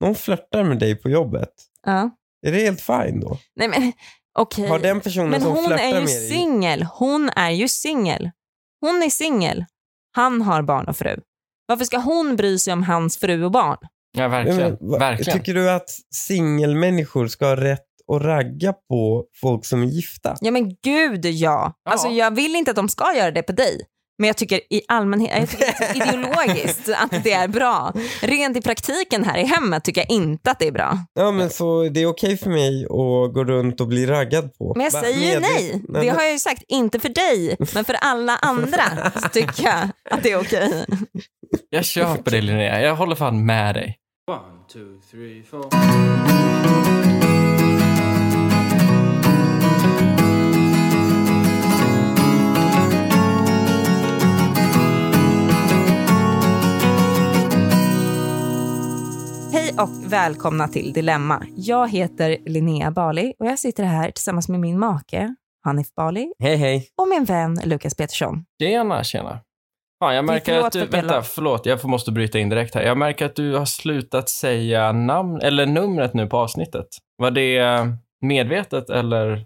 någon flörtar med dig på jobbet, Ja. är det helt fine då? Nej men okej. Har den personen Men som hon flörtar är ju med dig... singel. Hon är ju singel. Hon är singel. Han har barn och fru. Varför ska hon bry sig om hans fru och barn? Nej, Ja, verkligen. men vad- verkligen. Tycker du att singelmänniskor ska ha rätt att ragga på folk som är gifta? Ja men gud ja. Ja. Alltså jag vill inte att de ska göra det på dig. Men jag tycker i allmänhet, jag tycker det är ideologiskt att det är bra. Rent i praktiken här i hemmet tycker jag inte att det är bra. Ja, men så det är okej för mig att gå runt och bli raggad på. Men jag Bara säger ju medvis- nej. Det har jag ju sagt, inte för dig, men för alla andra så tycker jag att det är okej. Jag köper det Linnea. Jag håller fan med dig. One, two, three, four. Hej och välkomna till Dilemma. Jag heter Linnea Bali och jag sitter här tillsammans med min make Hanif Bali Hej, hej. och min vän Lukas Petersson. Tjena, tjena. Fan, jag märker förlåt att du... för att jag Vänta, la- förlåt. Jag får- måste bryta in direkt här. Jag märker att du har slutat säga namn, eller numret nu på avsnittet. Var det eh, medvetet eller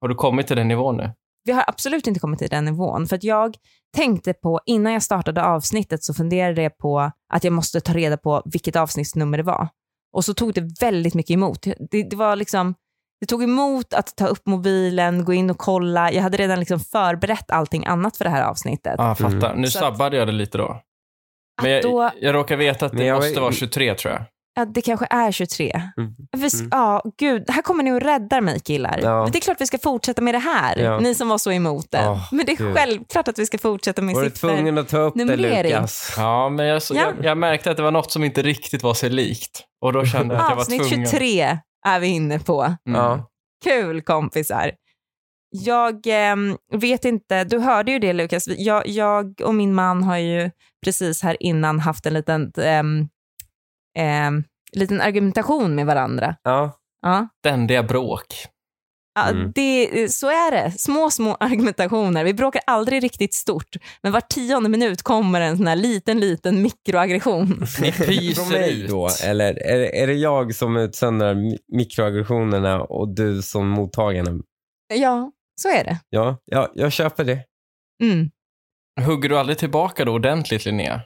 har du kommit till den nivån nu? Vi har absolut inte kommit till den nivån för att jag tänkte på innan jag startade avsnittet så funderade jag på att jag måste ta reda på vilket avsnittsnummer det var. Och så tog det väldigt mycket emot. Det, det var liksom det tog emot att ta upp mobilen, gå in och kolla. Jag hade redan liksom förberett allting annat för det här avsnittet. Ja, ah, fattar. Mm. Nu Så att- sabbade jag det lite då. Men att då, jag, jag råkar veta att Men det jag- måste vara 23 tror jag. ja, det kanske är 23. Mm. Vi, s- Mm. Ja, gud. Här kommer ni och räddar mig killar. Ja. Men det är klart vi ska fortsätta med det här, Ja. ni som var så emot det. Åh, Men det är gud. självklart att vi ska fortsätta med Var du siffror. tvungen att ta upp det, Numrering. Lukas? Ja, men jag, så, Ja. Jag, jag märkte att det var något som inte riktigt var sig likt. Och då kände jag att jag var Avsnitt tvungen. 23 är vi inne på. Mm. Ja. Kul kompisar. Jag ehm, vet inte, du hörde ju det Lukas, Vi- jag, jag och min man har ju precis här innan haft en liten, ehm, ehm, liten argumentation med varandra. Ja. Ja. Ständiga bråk. Ja, Mm. det, eh, så är det. Små, små argumentationer. Vi bråkar aldrig riktigt stort, men var tionde minut kommer en sån här liten, liten mikroaggression. Ni Från pyser mig ut. då? Eller är, är det jag som utsöndrar mi- mikroaggressionerna och du som mottagarna? Ja, så är det. Ja, ja jag köper det. Mm. Hugger du aldrig tillbaka då ordentligt Linnea?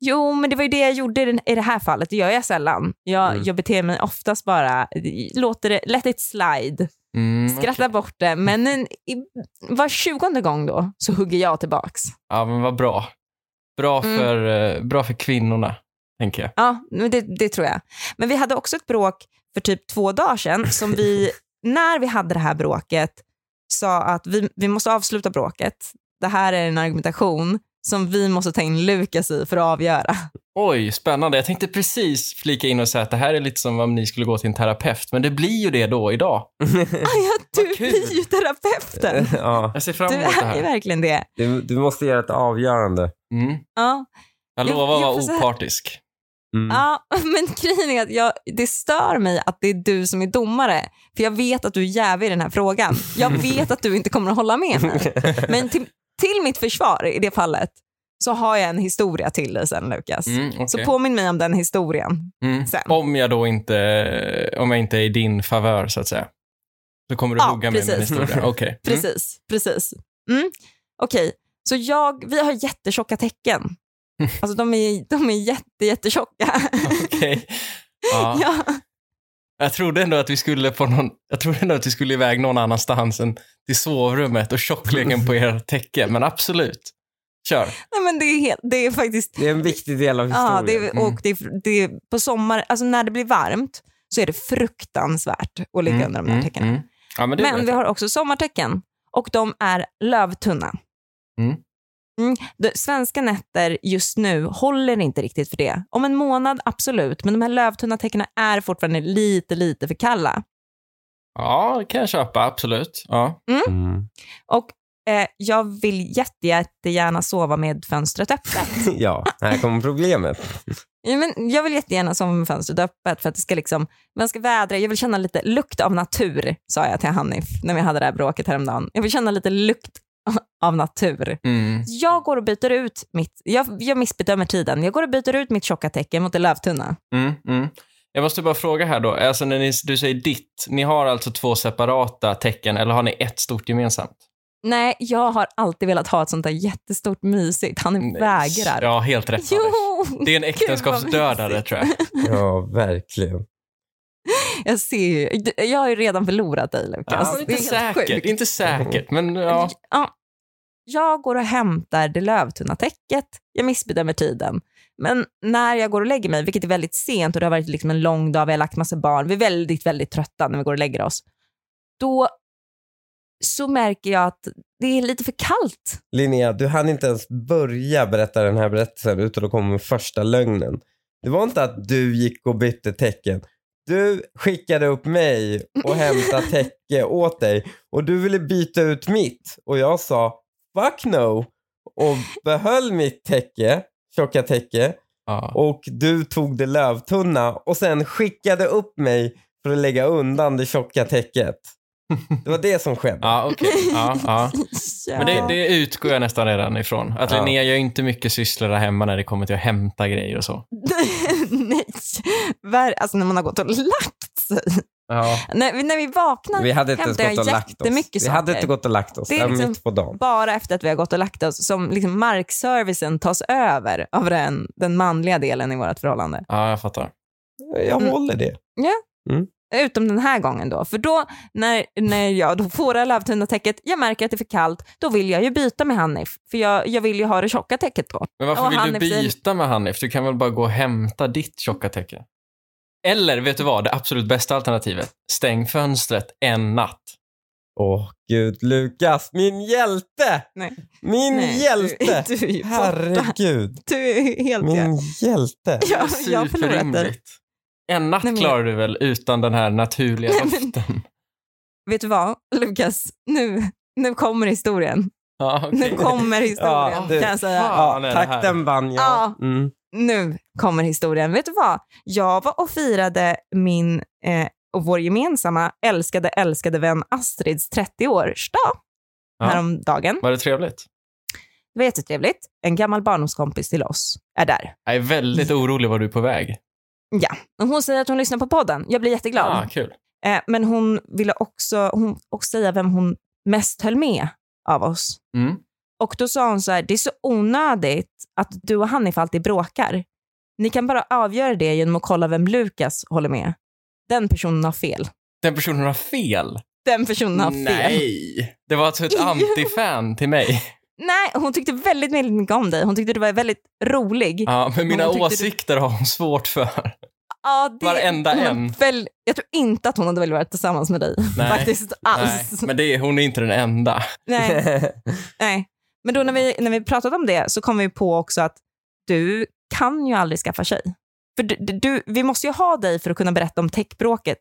Jo, men det var ju det jag gjorde i den- i det här fallet. Det gör jag sällan. Jag, Mm. jag beter mig oftast bara, eh, låter det, let it slide, Mm, skratta okej. bort det. Men en, i, var tjugonde gång då så hugger jag tillbaks. Ja, men vad bra. Bra Mm. för, eh, bra för kvinnorna, tänker jag. Ja, men det, det tror jag. Men vi hade också ett bråk för typ två dagar sedan som vi, när vi hade det här bråket, sa att vi, vi måste avsluta bråket. Det här är en argumentation som vi måste ta in Lukas i för att avgöra. Oj, spännande. Jag tänkte precis flika in och säga att det här är lite som om ni skulle gå till en terapeut, men det blir ju det då idag. Ja, du Vad kul. blir ju terapeuten. ja, Jag ser fram Du emot det är ju här. verkligen det. du, du måste göra ett avgörande. Mm. Ja, Jag Jo, lovar att jo, vara för så här- opartisk. Mm. ja men grejen är att jag, det stör mig att det är du som är domare. För jag vet att du är jävig i den här frågan. Jag vet att du inte kommer att hålla med mig. Men till, till mitt försvar i det fallet så har jag en historia till dig sen Lukas. Mm, okej. Så påminn mig om den historien. mm. sen. Om jag då inte, eh, om jag inte är i din favör, så att säga. Så kommer du Ja, hugga mig med en precis. historia. Okej. Mm. Precis, precis. Mm. Okej, så jag, vi har jättetjocka tecken. Alltså de är, de är jätte, jättetjocka. Okej. Ja. Ja. Jag trodde ändå att vi skulle på någon, jag trodde ändå att vi skulle iväg någon annanstans än till sovrummet och tjockleken på er täcke, men absolut. Kör. Nej, men det, är helt, det är faktiskt Det är en viktig del av historien. Ja, Ah, det är, Mm. och det är, det är på sommar, alltså när det blir varmt så är det fruktansvärt att ligga under de där tecknen. mm. Ja, men det Men vi har också sommartecken och de är lövtunna. Mm. Mm, de- Svenska nätter just nu håller inte riktigt för det. Om en månad, absolut, men de här lövtunna tecknen är fortfarande lite, lite för kalla. Ja, det kan jag köpa, absolut. Ja. Mm. Och eh, jag vill jätte, jättegärna sova med fönstret öppet. Ja, här kommer problemet. Ja, men jag vill jättegärna sova med fönstret öppet för att det ska liksom, man ska vädra. Jag vill känna lite lukt av natur, sa jag till Hanif när vi hade det här bråket häromdagen. Jag vill känna lite lukt av natur. Mm. Jag går och byter ut mitt, jag, jag missbedömer tiden, jag går och byter ut mitt tjocka täcke mot det lövtunna. Mm, mm. Jag måste bara fråga här då, alltså när ni, du säger ditt, ni har alltså två separata tecken eller har ni ett stort gemensamt? Nej, jag har alltid velat ha ett sånt där jättestort mysigt. Han vägrar. Ja, helt rätt. Jo! Alex. Det är Gud, en vad äktenskapsdödare mysigt. tror jag. Ja, verkligen. Jag ser ju. du- Jag har ju redan förlorat dig, Ja, Lukas. inte Det är helt säkert, sjukt. inte säkert, men ja. Ja. Jag går och hämtar det lövtunna täcket. Jag missbedömer tiden. Men när jag går och lägger mig, vilket är väldigt sent och det har varit liksom en lång dag, vi har lagt massa barn, vi är väldigt, väldigt trötta när vi går och lägger oss. Då så märker jag att det är lite för kallt. Linnea, du hann inte ens börja berätta den här berättelsen utan att komma med första lögnen. Det var inte att du gick och bytte tecken. Du skickade upp mig och hämta täcke åt dig och du ville byta ut mitt och jag sa fuck no och behöll mitt täcke, tjocka täcke ja. och du tog det lövtunna och sen skickade upp mig för att lägga undan det tjocka täcket. Det var det som skedde. Ja, okej. Ja, ja. Men det, Ja. det utgår jag nästan redan ifrån. Att Ja. Linnea gör inte mycket sysslor där hemma när det kommer till att hämta grejer och så. Nej, Ver- alltså när man har gått och lagt sig. Ja. När, vi- när vi vaknar Vi hade inte ens hämtar gått jag och lagt oss. jättemycket Vi hade saker. inte gått och lagt oss. Det är Det är liksom- mitt på dagen. bara efter att vi har gått och lagt oss som liksom markservicen tas över av den, den manliga delen i vårt förhållande. ja, jag fattar. Jag Mm. håller det. Utom den här gången då, för då när, när jag då får det här lövtunna täcket, jag märker att det är för kallt, då vill jag ju byta med Hanif, för jag, jag vill ju ha det tjocka täcket då. Men varför Och vill du Hanif säger- byta med Hanif? Du kan väl bara gå och hämta ditt tjocka täcke? Eller, vet du vad? Det absolut bästa alternativet. Stäng fönstret en natt. Åh gud, Lukas, min hjälte! Nej. Min hjälte! Du, du är ju borta. Herregud, Du är helt... min hjälte. Ja, jag har förlorat dig. Superrimligt. En natt Nej, men- klarar du väl utan den här naturliga Nej, men- doften? Vet du vad, Lukas? Nu, nu kommer historien. Ja, okej. Nu kommer historien, du- kan jag säga. Ja, Fan, är det här? takten vann jag. Ja. Mm. nu kommer historien. Vet du vad? Jag var och firade min eh, och vår gemensamma älskade, älskade vän Astrids 30-årsdag Ja. häromdagen. Var det trevligt? Det var jättetrevligt. En gammal barndomskompis till oss är där. Jag är väldigt orolig var du är på väg. Och Hon säger att hon lyssnar på podden. Jag blir jätteglad. Ah, kul. Eh, men hon ville också, hon, också säga vem hon mest höll med av oss. Mm. Och då sa hon så här, det är så onödigt att du och Hanif alltid bråkar. Ni kan bara avgöra det genom att kolla vem Lukas håller med. Den personen har fel. Den personen har fel. Den personen har fel. Nej. Det var alltså ett Jo. antifan till mig. Nej, hon tyckte väldigt väldigt mycket om dig. Hon tyckte du var väldigt rolig. Ja, Ja, men mina Hon tyckte du- åsikter har hon svårt för. det, varenda hon har en. Väl, jag tror inte att hon hade velat vara tillsammans med dig. Nej. Faktiskt alls. Nej, men det är, hon är inte den enda. Nej. Nej. Men då när vi, när vi pratade om det så kom vi på också att du kan ju aldrig skaffa tjej. För du, du- du, vi måste ju ha dig för att kunna berätta om techbråket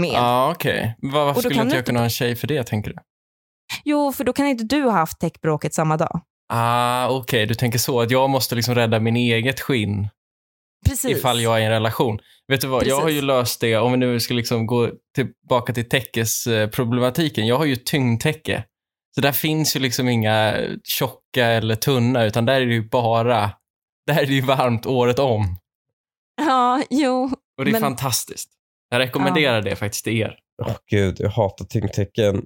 mer. Ja, okej. Var, varför Och då skulle kan inte du jag inte- kunna ha en tjej för det, tänker du? Jo, för då kan inte du ha haft techbråket samma dag. Ah, okej, du tänker så. Att jag måste liksom rädda min eget skinn Precis. ifall jag är i en relation. Vet du vad, jag har ju Precis. löst det, om vi nu ska liksom gå tillbaka till täckesproblematiken. Jag har ju tyngdtäcke. Så där finns ju liksom inga tjocka eller tunna, utan där är det ju bara, där är det ju varmt året om. Ja, jo. Och det är Men- fantastiskt. Jag rekommenderar det faktiskt till er. Åh gud, jag hatar tyngdtecken.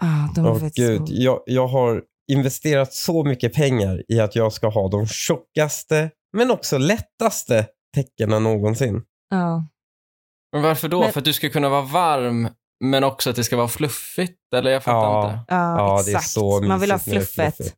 Ah, de är Åh faktiskt Mm, gud, så- jag, jag har investerat så mycket pengar i att jag ska ha de tjockaste, men också lättaste teckena någonsin. Ja. Men varför då? Men- För att du ska kunna vara varm, men också att det ska vara fluffigt? Eller jag fattar Ja. inte. Ja, Ja, det är exakt. så man vill ha mysigt när det är fluffet. fluffigt.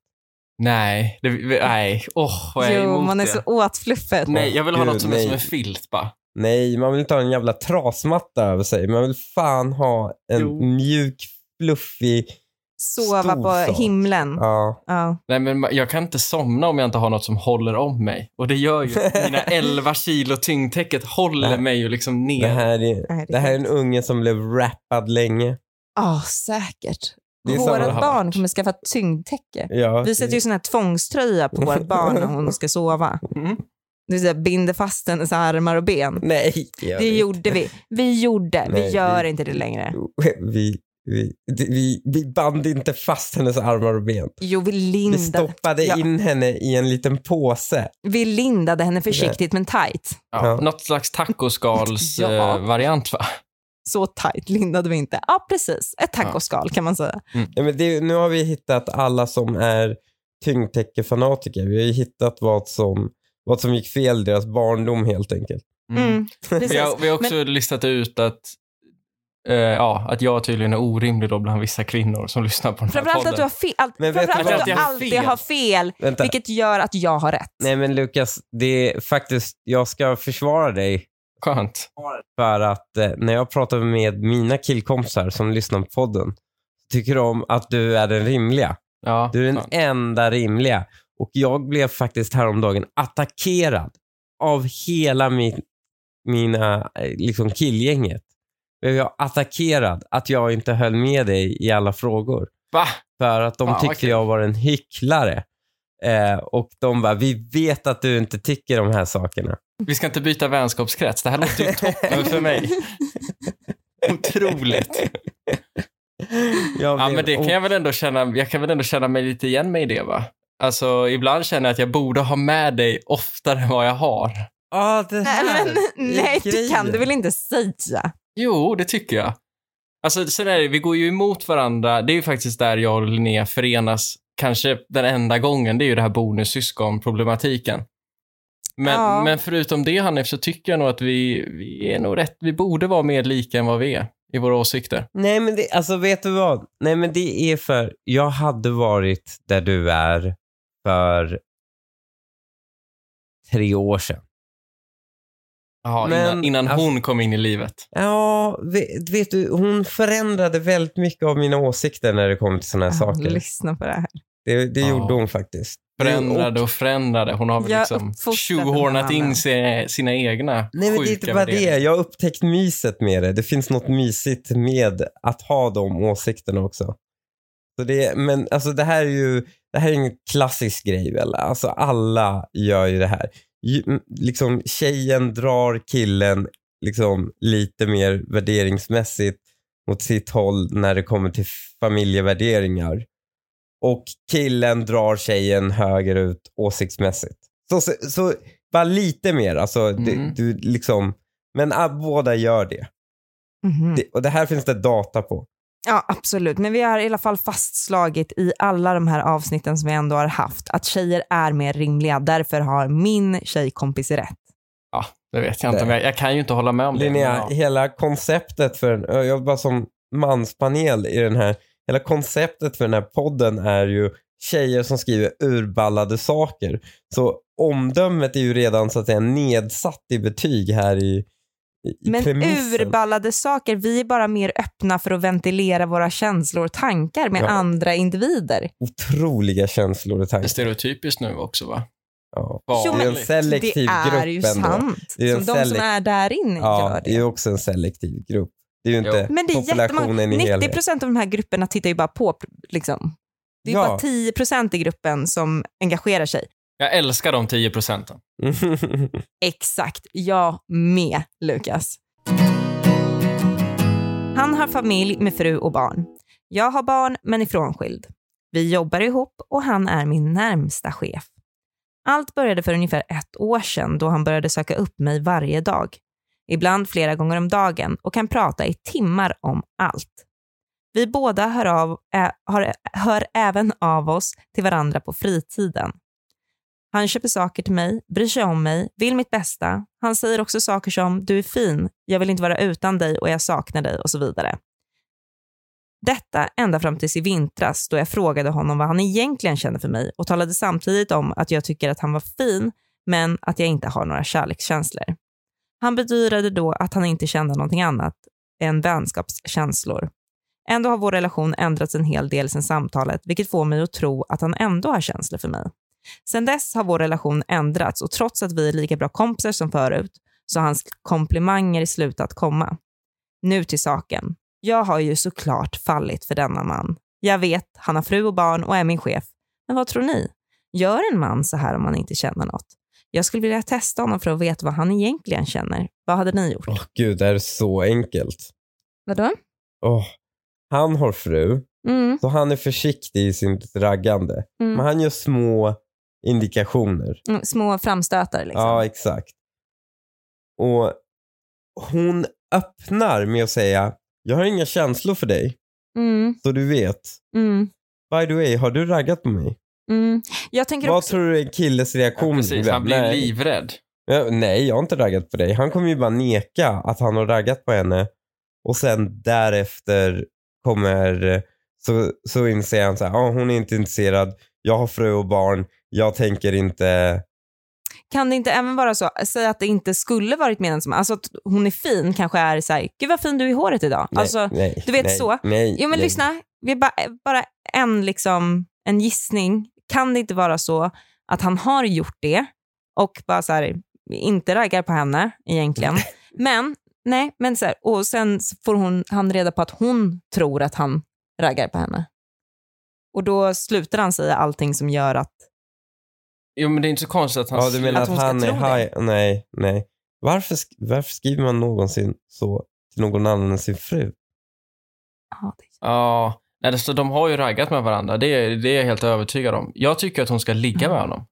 Nej, det, nej. Åh, vad jag är Jo, emot man är det. så åt fluffet. Nej, jag vill ha Gud, något som är nej. som en filt bara. Nej, man vill inte ha en jävla trasmatta över sig. Man vill fan ha en Jo. mjuk, fluffig... Sova stor på sak. himlen. Ja. Ja. Nej, men jag kan inte somna om jag inte har något som håller om mig. Och det gör ju att mina 11 kilo tyngdtäcket håller Nej. mig ju liksom Det, ner. här är, Nej, det det här är är en unge som blev rappad länge. Ja, säkert. Det är Våra samma- barn kommer skaffa tyngdtäcke. Ja, Vi sätter ju sån här tvångströja på vårt barn när hon ska sova. Mm. Det vill säga binder fast hennes armar och ben. Nej, jag Det vet. gjorde vi. Vi gjorde. Vi Nej, gör vi- inte det längre. Vi Vi, vi, vi band inte fast hennes armar och ben. Jo, vi Vi lindade, stoppade Ja. in henne i en liten påse. vi lindade henne försiktigt men tight. Ja. Ja. Något slags Ja. tacoskalsvariant va? Så tight lindade vi inte. Ja, precis. Ett tacoskal kan man säga. Ja, men det, nu har vi hittat alla som är tyngdtäckefanatiker. Vi har ju hittat vad som, vad som gick fel i deras barndom helt enkelt. Mm. Precis. Vi, har, vi har också listat ut att, eh, ja, att jag tydligen är orimlig då bland vissa kvinnor som lyssnar på den här Framförallt podden. att du har fel. Men vet Framförallt du vad? att du Jag har alltid fel. har fel, Vänta. vilket gör att jag har rätt. Nej men Lukas, det är faktiskt, jag ska försvara dig Skönt. för att eh, när jag pratar med mina killkompisar som lyssnar på podden tycker de att du är den rimliga. Ja, Du är den skönt. enda rimliga. Och jag blev faktiskt häromdagen attackerad av hela min, mina eh, liksom killgänget. Blev jag attackerad att jag inte höll med dig i alla frågor. Va? För att de Fan, Ah, vad tyckte kul. jag var en hycklare. Eh, och de bara, vi vet att du inte tycker de här sakerna. Vi ska inte byta vänskapskrets. Det här låter ju toppen för mig. Otroligt. Jag Ja, blev- men det kan jag väl ändå känna, jag kan väl ändå känna mig lite igen mig i det va? Alltså, ibland känner jag att jag borde ha med dig oftare än vad jag har. Ja, det Nej, här men, är nej det grejen. kan du väl inte säga? Jo, det tycker jag. Alltså, sen är det, vi går ju emot varandra. Det är ju faktiskt där jag och Linnea förenas, kanske den enda gången, det är ju det här bonus-syskon-problematiken. Men, Ja. men förutom det, Hanif, så tycker jag nog att vi, vi är nog rätt, vi borde vara mer lika än vad vi är i våra åsikter. Nej men det, alltså vet du vad? Nej men det är för, jag hade varit där du är för tre år sedan. Jaha, Men- innan, innan alltså- hon kom in i livet. Ja, vet, vet du, hon förändrade väldigt mycket av mina åsikter när det kom till sådana här Ja, saker. lyssna på det här. Det, det Ja. gjorde hon faktiskt. Förändrade och förändrade. Hon har väl Jag liksom uppfostrar tjohornat den här in sina, sina egna Nej men det är inte sjuka liksom. bara det, värderingar. jag har upptäckt myset med det. Det finns något mysigt med att ha de åsikterna också. Så det, men alltså det här är ju det här är en klassisk grej väl? Alltså alla gör ju det här. Ju- m- Liksom tjejen drar killen liksom lite mer värderingsmässigt mot sitt håll när det kommer till familjevärderingar. Och killen drar tjejen högerut åsiktsmässigt. Så, så, så bara lite mer. Alltså, du, Mm. du, liksom, men ah, båda gör det. Mhm. det. Och det här finns det data på. Ja, absolut. Men vi har i alla fall fastslagit i alla de här avsnitten som vi ändå har haft att tjejer är mer rimliga. Därför har min tjejkompis rätt. Det vet jag inte, men jag, jag kan ju inte hålla med om det. Linnea, men ja. hela konceptet för en, jag bara som manspanel i den här, hela konceptet för den här podden är ju tjejer som skriver urballade saker. Så omdömet är ju redan så att säga nedsatt i betyg här i, i i Men premissen. urballade saker, vi är bara mer öppna för att ventilera våra känslor och tankar med Ja. andra individer. Otroliga känslor och Det är tankar. stereotypiskt nu också va? Ja. Jo, Det är men en selektiv det är ju grupp ändå. sant. Det är en som de som selek- är där inne Ja, gör det är det. ju också en selektiv grupp. Det är ju inte Men det är jättemånga, populationen i 90 helhet. procent av de här grupperna tittar ju bara på. Liksom. Det är Ja. bara 10 procent i gruppen som engagerar sig. Jag älskar de 10 procenten. Exakt, jag med Lukas. Han har familj med fru och barn. Jag har barn men är frånskild. Vi jobbar ihop och han är min närmsta chef. Allt började för ungefär ett år sedan då han började söka upp mig varje dag. Ibland flera gånger om dagen och kan prata i timmar om allt. Vi båda hör, av, ä, har, hör även av oss till varandra på fritiden. Han köper saker till mig, bryr sig om mig, vill mitt bästa. Han säger också saker som “du är fin, jag vill inte vara utan dig och jag saknar dig” och så vidare. Detta ända fram tills i vintras då jag frågade honom vad han egentligen känner för mig och talade samtidigt om att jag tycker att han var fin men att jag inte har några kärlekskänslor. Han bedyrade då att han inte kände någonting annat än vänskapskänslor. Ändå har vår relation ändrats en hel del sedan samtalet vilket får mig att tro att han ändå har känslor för mig. Sen dess har vår relation ändrats och trots att vi är lika bra kompisar som förut så har hans komplimanger slutat komma. Nu till saken. Jag har ju såklart fallit för denna man. Jag vet, han har fru och barn och är min chef. Men vad tror ni? Gör en man så här om man inte känner något? Jag skulle vilja testa honom för att veta vad han egentligen känner. Vad hade ni gjort? Åh gud, det här är så enkelt. Vadå? Åh, Han har fru, Mm, så han är försiktig i sin raggande. Men mm, han gör små indikationer. mm, små framstötar liksom. Ja, exakt. Och hon öppnar med att säga, jag har inga känslor för dig, Mm, så du vet. mm, By the way, har du raggat på mig? mm. Jag tänker Vad också... tror du är en killes reaktion? Ja, precis, blev? han blir nej. livrädd. Ja, nej, jag har inte raggat på dig. Han kommer ju bara neka att han har raggat på henne. Och sen därefter kommer, så, så inser han så här, ah, hon är inte intresserad, jag har fru och barn, jag tänker inte, Kan det inte även vara så, säg att det inte skulle varit meningen som, alltså att hon är fin kanske är så här, gud vad fin du är i håret idag. nej, Alltså, nej, du vet nej, så. Nej, jo men nej. lyssna, vi är bara, bara en, liksom, en gissning. Kan det inte vara så att han har gjort det och bara så här, inte raggar på henne egentligen. Men, nej, men så här, och sen så får hon, han reda på att hon tror att han raggar på henne. Och då slutar han säga allting som gör att Jo, men det är inte så konstigt att han... Ja, du menar att att, hon ska han tro är high? Nej, nej. Varför, sk- varför skriver man någonsin så till någon annan än sin fru? ja, det Ja, nej, alltså, de har ju raggat med varandra. Det är, det är jag helt övertygad om. Jag tycker att hon ska ligga med honom.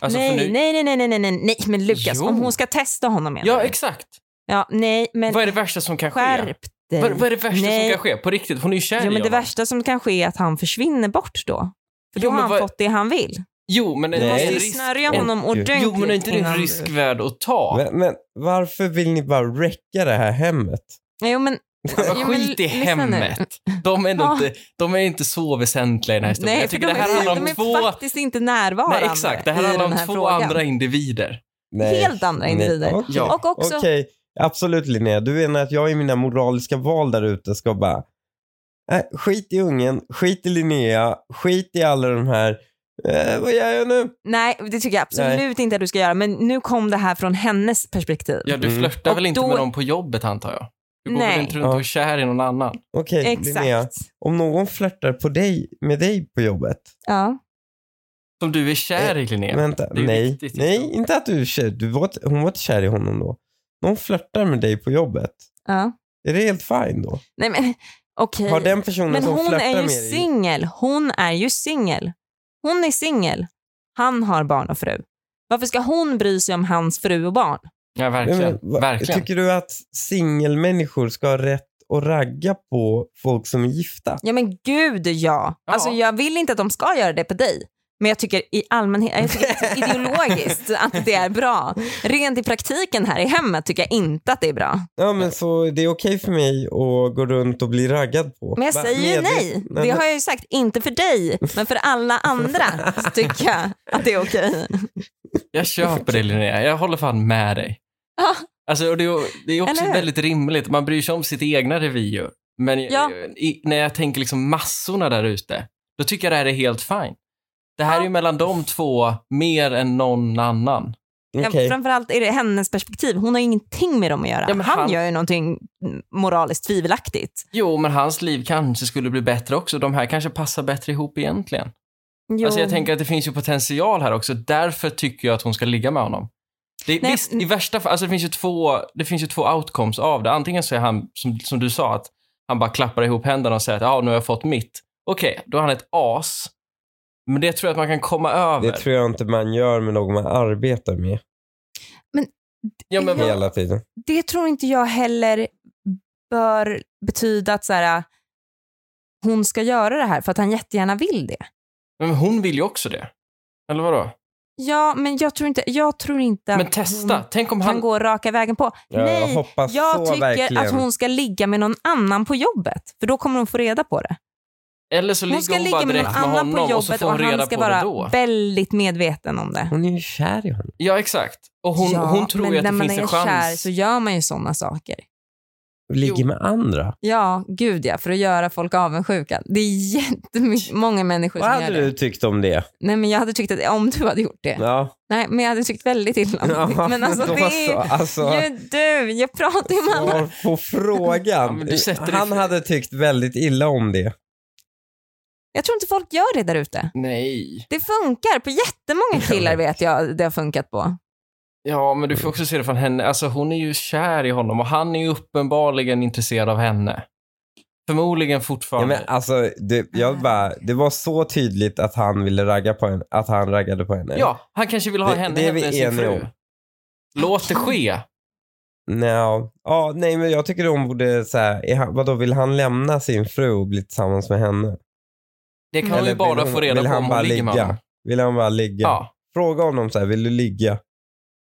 Alltså, för nej, nu- nej, nej, nej, nej, nej, nej, nej, men Lukas, Jo. om hon ska testa honom menar Ja, du? exakt. ja, nej, men Vad är det värsta som kan ske? skärp dig. Vad, vad är det värsta Nej. som kan ske? På riktigt, hon är ju kär i jo, men det honom. värsta som kan ske är att han försvinner bort då. För då Jo, har men han vad- fått det han vill. Jo, men är Du Du det Nej. måste en ju risk? snärja honom Jo, ordentligt. Jo, men är inte det innan en du- risk värd att ta? Men, men varför vill ni bara wrecka det här hemmet? Jo, men, Bara Jo, men skit i lyssna nu. hemmet. De är, nog Ja. inte, de är inte så väsentliga i den här historien. nej, jag för tycker de, det här är, handlar de om är två... faktiskt inte närvarande Nej, exakt. Det här i handlar om den här två frågan. andra individer. Nej. Helt andra individer. Nej, okej. Ja. Och också, Okej, absolut Linnea. Du menar att jag i mina moraliska val där ute ska bara nej, skit i ungen, skit i Linnea, skit i alla de här, eh, vad gör jag nu? nej, det tycker jag absolut inte att du ska göra. Men nu kom det här från hennes perspektiv. Ja, du Mm. flörtar Och väl inte då- med någon på jobbet antar jag? Du går Nej. väl inte runt och är kär i någon annan? Okej Linnea, Exakt. om någon flörtar på dig, med dig på jobbet, Ja. Som du är kär i Linnea? Vänta, Det är ju nej. viktigt, nej, liksom. inte att du är kär. Du var, inte- hon var inte kär i honom då. Någon flörtar med dig på jobbet. ja. Är det helt fine då? Nej, men okej. Har den personen Men som hon flörtar är ju med dig... singel. Hon är ju singel. Hon är singel. Han har barn och fru. Varför ska hon bry sig om hans fru och barn? Ja, verkligen. Nej, men, va- verkligen. Tycker du att singelmänniskor ska ha rätt att ragga på folk som är gifta? Ja men gud ja. Ja. Alltså jag vill inte att de ska göra det på dig. Men jag tycker i allmänhet, jag tycker att ideologiskt att det är bra. Rent i praktiken här i hemmet tycker jag inte att det är bra. Ja, men så det är okej för mig att gå runt och bli raggad på. Men jag Va- säger ju medvet- nej. Men- Det har jag ju sagt, inte för dig, men för alla andra så tycker jag att det är okej. Jag köper det Linnea, jag håller fan med dig. Ja. Alltså, och det, är- det är också Eller hur? väldigt rimligt, man bryr sig om sitt egna revir. Men Ja. i, när jag tänker liksom massorna där ute, då tycker jag det här är helt fine. Det här är ju mellan de två mer än någon annan. Okej. Ja, framförallt är det hennes perspektiv. Hon har ju ingenting med dem att göra. Ja, men han... han- gör ju någonting moraliskt tvivelaktigt. Jo, men hans liv kanske skulle bli bättre också. De här kanske passar bättre ihop egentligen. Alltså jag tänker att det finns ju potential här också. Därför tycker jag att hon ska ligga med honom. Det, Nej, visst, i värsta fall, alltså det finns ju två, det finns ju två outcomes av det. Antingen så är han, som, som du sa, att han bara klappar ihop händerna och säger att ja, nu har jag fått mitt. Okej, då är han ett as. Men det tror jag att man kan komma över. Det tror jag inte man gör med någon man arbetar med ja, men, Ja. hela tiden. Det tror inte jag heller bör betyda att så här, hon ska göra det här för att han jättegärna vill det. men hon vill ju också det. Eller vadå? Ja, men jag tror inte, jag tror inte Men att testa. hon Tänk om kan han... gå raka vägen på. Jag Nej, hoppas jag så tycker verkligen. att hon ska ligga med någon annan på jobbet, för då kommer hon få reda på det. Eller så Hon ska ligger hon bara ligga med någon direkt med annan på honom och så jobbet får och hon reda han ska på det vara då. väldigt medveten om det. Hon är ju kär i honom. Ja, exakt. Och hon, ja, hon tror men ju att när det man finns är en chans. kär så gör man ju sådana saker. Ligger med andra. Ja, gud ja, för att göra folk avundsjuka. Det är jättemånga människor Vad som gör hade du det. tyckt om det? Nej, men jag hade tyckt att om du hade gjort det. Ja. Nej, men jag hade tyckt väldigt illa om det. Ja, Men alltså då det är så. ju- Alltså, ju du, jag pratar ju med andra. svar på Ja, frågan. men du sätter dig Han för- hade tyckt väldigt illa om det. Jag tror inte folk gör det där ute. Nej. Det funkar på jättemånga killar vet jag det har funkat på. Ja, men du får också se det från henne. Alltså, hon är ju kär i honom och han är ju uppenbarligen intresserad av henne. Förmodligen Ja, fortfarande. men alltså, det, Ah. jag bara, det var så tydligt att han ville ragga på henne, att han raggade på henne. Ja, han kanske vill ha Det- henne det är hem vi med sin eniga fru. om. Låt det ske. Nja. Ja, nej men jag tycker hon borde så här, är han, vadå vill han lämna sin fru och bli tillsammans med henne? Det kan Mm. hon ju Eller vill bara hon- få reda vill på han om bara hon ligger med ligga? honom. Vill han bara ligga? Ja. Fråga honom så här, vill du ligga?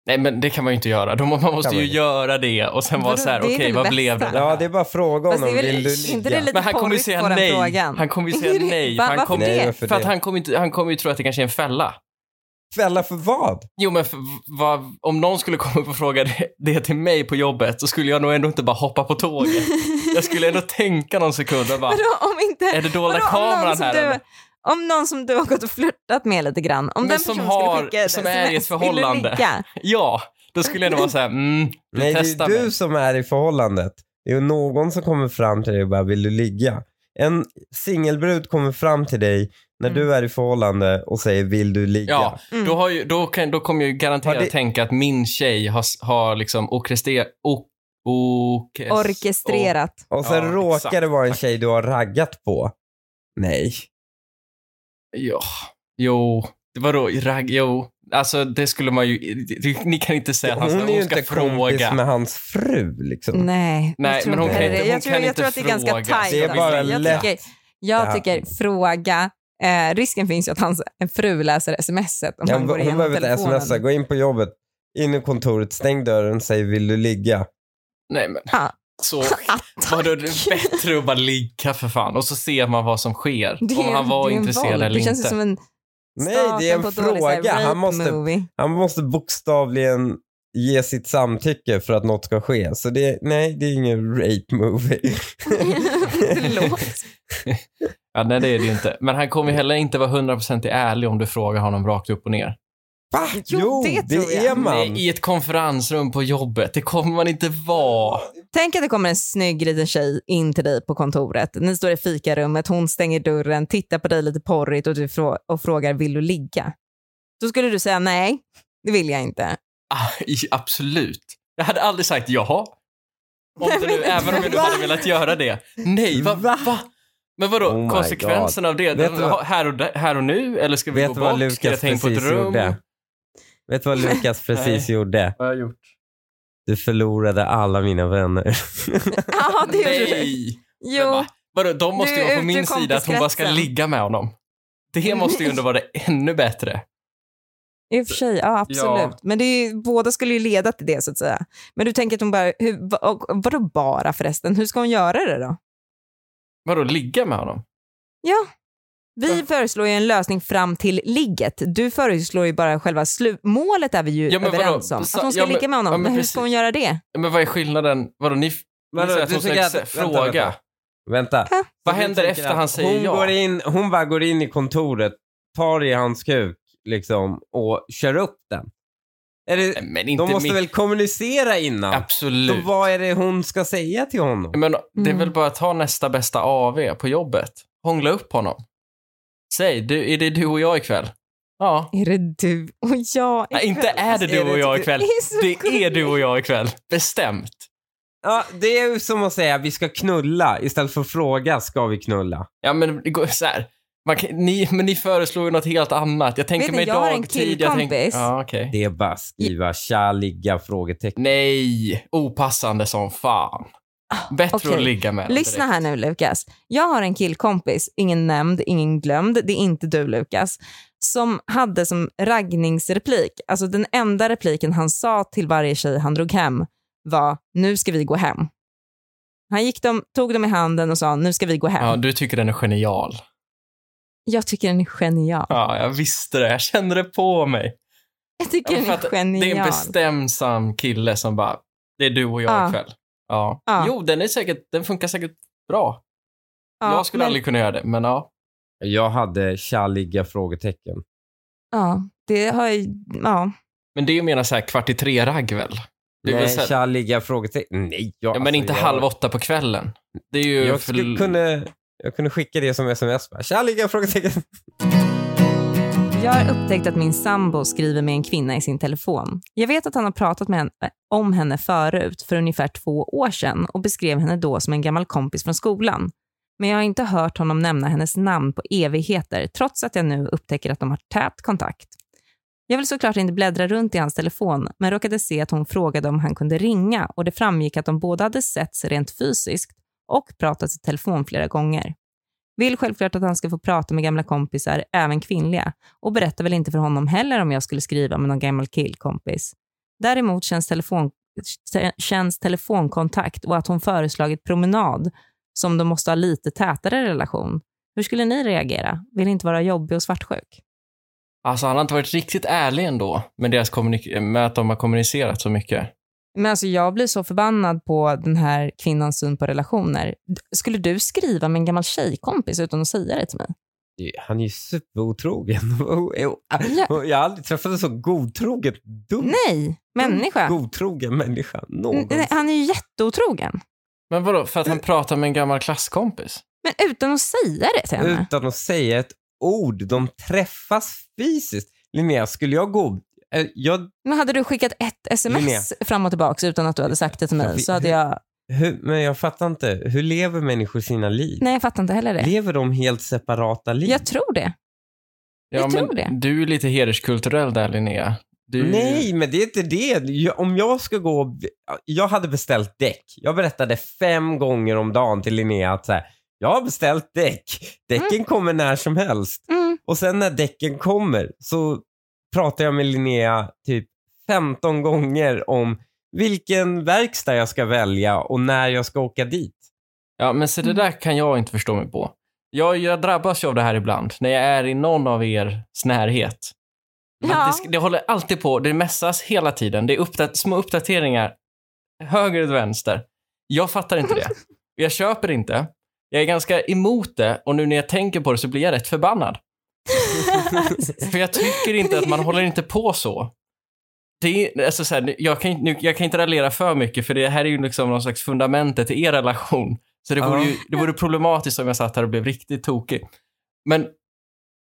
Nej, men det kan man ju inte göra. Då må- Man måste Kan ju man ju. göra det och sen vara Vadå, så här, det är okej, väl det vad blev bästa? det? Ja, det är bara fråga Ah. Fast honom, det är väl, vill du inte det ligga? lite Men han kommer ju porrigt säga på den nej. frågan? Han kommer ju säga nej. Va- Han varför kommer, det? Nej, för varför att det? han kommer, inte, han kommer ju tro att det kanske är en fälla. Fälla för vad? Jo, men för, vad, om någon skulle komma upp och fråga det, det till mig på jobbet så skulle jag nog ändå inte bara hoppa på tåget. Jag skulle ändå tänka någon sekund och bara, Vadå om inte... är det dolda Vadå, om, någon kameran som här du, eller? om någon som du har gått och flörtat med lite grann, om Men den som personen har- skulle skicka ett som är i ett sms, vill du förhållande. ligga? Ja, då skulle jag ändå vara så här, mm, du Nej, det testar är ju mig. du som är i förhållandet. Det är ju någon som kommer fram till dig och bara, vill du ligga? En singelbrud kommer fram till dig när Mm. du är i förhållande och säger, vill du ligga? Ja, Mm. då, har ju, då, kan, då kommer jag ju garanterat Har det- tänka att min tjej har, s- har liksom orkestre, o, orkes, Orkestrerat. Och sen Ja, råkar exakt. det vara en Tack. tjej du har raggat på. Nej. o- ja, jo, det var då ragg, jo. Alltså det skulle man ju, ni kan inte säga att han hon ska, är ju hon ska inte kompis fråga. med hans fru liksom. Nej, jag Nej, tror men hon inte kan det. inte- hon jag tror, kan jag inte tror att det är ganska fråga. tajt. Det är faktiskt. bara jag lätt. tycker, jag Ja. tycker fråga. Eh, risken finns ju att hans en fru läser smset om Ja, han hon går igenom behöver inte telefonen. smsa, gå in på jobbet, in i kontoret, stäng dörren, säg vill du ligga? Nej men, Ah. så Ah, var tack. det bättre att bara ligga för fan och så ser man vad som sker. Det är- om han var det är en intresserad våld. eller Det inte. känns ju som en Nej, det är en fråga. Han måste, Movie. han måste bokstavligen ge sitt samtycke för att något ska ske. Så det, nej, det är ingen rape movie. Förlåt. Ja, nej det är det ju inte. Men han kommer ju heller inte vara 100% ärlig om du frågar honom rakt upp och ner. Va? Jo, det tror jag. är man. Nej, I ett konferensrum på jobbet, det kommer man inte vara. Tänk att det kommer en snygg liten tjej in till dig på kontoret. Ni står i fikarummet, hon stänger dörren, tittar på dig lite porrigt och, du frå- och frågar vill du ligga? Då skulle du säga nej, det vill jag inte. Ah, i- absolut. Jag hade aldrig sagt jaha. Om Nej, det men- nu, även om jag nu Va? hade velat göra det. Nej, va? va? Va? Men vadå, Oh my konsekvensen av det? Vet du vad- här, och där, här och nu? Eller ska vi Vet gå du vad bort? Ska jag Lukas ta in på ett precis rum? gjorde? Vet du vad Lukas precis gjorde? Vad har jag gjort? Du förlorade alla mina vänner. Ja, det gjorde du. Nej! Men Jo, va? Vadå, de måste ju Du är vara på ute min ur sida att hon bara ska kompiskretsen. ligga med honom. Det måste ju ändå vara det ännu bättre. i och för sig. Ja, absolut. Ja. Men det är, ju- båda skulle ju leda till det så att säga. Men du tänker att hon bara, hur, va- och- och vadå bara förresten, hur ska hon göra det då? Vadå, ligga med honom? Vi föreslår ju en lösning fram till ligget. Du föreslår ju bara själva slu- målet är vi ju Ja, men vadå? överens om. Att Sa- hon ska ja, men- ligga med honom. ja, men men hur precis. ska hon göra det? Ja, Men vad är skillnaden? Vadå, ni, ni Vadå, säger att du hon ska tycker ex- att- fråga. vänta, vänta. Vänta. Vad Så du händer tänker efter att han säger hon ja? Går in, hon bara går in i kontoret, tar i hans kuk liksom, och kör upp den. Är det, Nej, Men de inte måste mitt... väl kommunicera innan? Så Absolut. vad är det hon ska säga till honom? Men det är Mm. väl bara att ta nästa bästa AV på jobbet. Hångla upp honom. Säg, du, är det du och jag ikväll? Ja. Är det du och jag Nej, inte är det du och jag ikväll. Det är du och jag ikväll. Bestämt. Ja, det är ju som att säga vi ska knulla istället för att fråga ska vi knulla. Ja, men det går så här. Man kan, ni, men ni föreslår ju något helt annat. Jag tänker Vet ni, mig jag har en dagtid. Jag tänker, killkompis. ja, okej. Det är bara skriva tja, ligga, frågetecken. Nej, opassande som fan. Bättre Ah, okej. att ligga med. den Lyssna direkt. här nu Lukas. Jag har en killkompis, ingen nämnd, ingen glömd, det är inte du Lukas, som hade som raggningsreplik, alltså den enda repliken han sa till varje tjej han drog hem var nu ska vi gå hem. Han gick dem, tog dem i handen och sa nu ska vi gå hem. Ja, du tycker den är genial. Jag tycker den är genial. Ja, jag visste det. Jag kände det på mig. Jag tycker Ja, den för att är genial. Det är en bestämsam kille som bara, det är du och jag Ja. ikväll. Ja. Ja. Jo, den, är säkert, den funkar säkert bra. Ja, jag skulle men- aldrig kunna göra det, men ja. Jag hade tja, ligga, frågetecken. Ja, det har ju... Ja. Men det är ju mera så här kvart i tre-ragg väl? Det är väl Nej, så här- tja, ligga, frågetecken. Nej, jag, Ja, men alltså, inte jag- halv åtta på kvällen. Det är ju Jag för- skulle kunna... Jag kunde skicka det som sms. Bara, Tja, ligga, frågetecken. Jag har upptäckt att min sambo skriver med en kvinna i sin telefon. Jag vet att han har pratat med henne, om henne förut, för ungefär två år sedan och beskrev henne då som en gammal kompis från skolan. men jag har inte hört honom nämna hennes namn på evigheter, trots att jag nu upptäcker att de har tät kontakt. Jag vill såklart inte bläddra runt i hans telefon, men råkade se att hon frågade om han kunde ringa och det framgick att de båda hade setts rent fysiskt och pratat i telefon flera gånger. Vill självklart att han ska få prata med gamla kompisar, även kvinnliga, och berättar väl inte för honom heller om jag skulle skriva med någon gammal killkompis. Däremot känns, telefon, känns telefonkontakt och att hon föreslagit promenad som de måste ha lite tätare relation. Hur skulle ni reagera? Vill inte vara jobbig och svartsjuk? Alltså han har inte varit riktigt ärlig ändå med, deras kommunik- med att de har kommunicerat så mycket. Men alltså jag blir så förbannad på den här kvinnans syn på relationer. D- Skulle du skriva med en gammal tjejkompis utan att säga det till mig? Han är ju superotrogen. Ja. Jag har aldrig träffat en så godtroget dum, Nej, människa. godtrogen människa N- någonsin. nej, Han är ju jätteotrogen. Men vadå, för att Eh, han pratar med en gammal klasskompis? Men utan att säga det till henne. Utan att säga ett ord. De träffas fysiskt. Linnea, skulle jag gå... eh, Jag, Men hade du skickat ett sms Linnea. fram och tillbaka utan att du hade sagt det till Jag mig vet- så hade jag... hur, men jag fattar inte. Hur lever människor sina liv? Nej, jag fattar inte heller det. lever de helt separata liv? Jag tror det. Ja, Jag men tror det. Du är lite hederskulturell där Linnea. Du... Nej, men det är inte det. Jag, om jag ska gå... och- Jag hade beställt däck. Jag berättade fem gånger om dagen till Linnea att så här, jag har beställt däck. Däcken kommer när som helst. Mm. Och sen när däcken kommer så pratar jag med Linnea typ 15 gånger om vilken verkstad jag ska välja och när jag ska åka dit. Ja, men så det där kan jag inte förstå mig på. Jag, jag drabbas ju av det här ibland, när jag är i någon av er närhet. Att Ja. Det, sk- det håller alltid på, det mässas hela tiden. Det är uppdat- små uppdateringar, höger och vänster. Jag fattar inte det. Jag köper inte. Jag är ganska emot det och nu när jag tänker på det så blir jag rätt förbannad. För jag tycker inte att man håller inte på så. Det är, alltså så här, nu- jag, kan, ju- nu, jag kan inte raljera för mycket för det här är ju liksom någon slags fundamentet i er relation. Så det vore, Ja. ju, det vore problematiskt om jag satt här och blev riktigt tokig. Men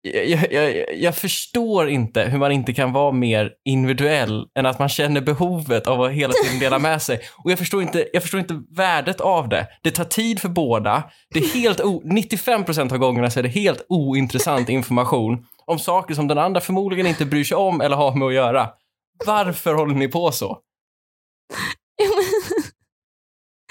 jag, jag, jag, jag förstår inte hur man inte kan vara mer individuell än att man känner behovet av att hela tiden dela med sig. Och jag förstår inte, jag förstår inte värdet av det. Det tar tid för båda. Det är helt o- 95% av gångerna så är det helt ointressant information om saker som den andra förmodligen inte bryr sig om eller har med att göra. Varför håller ni på så?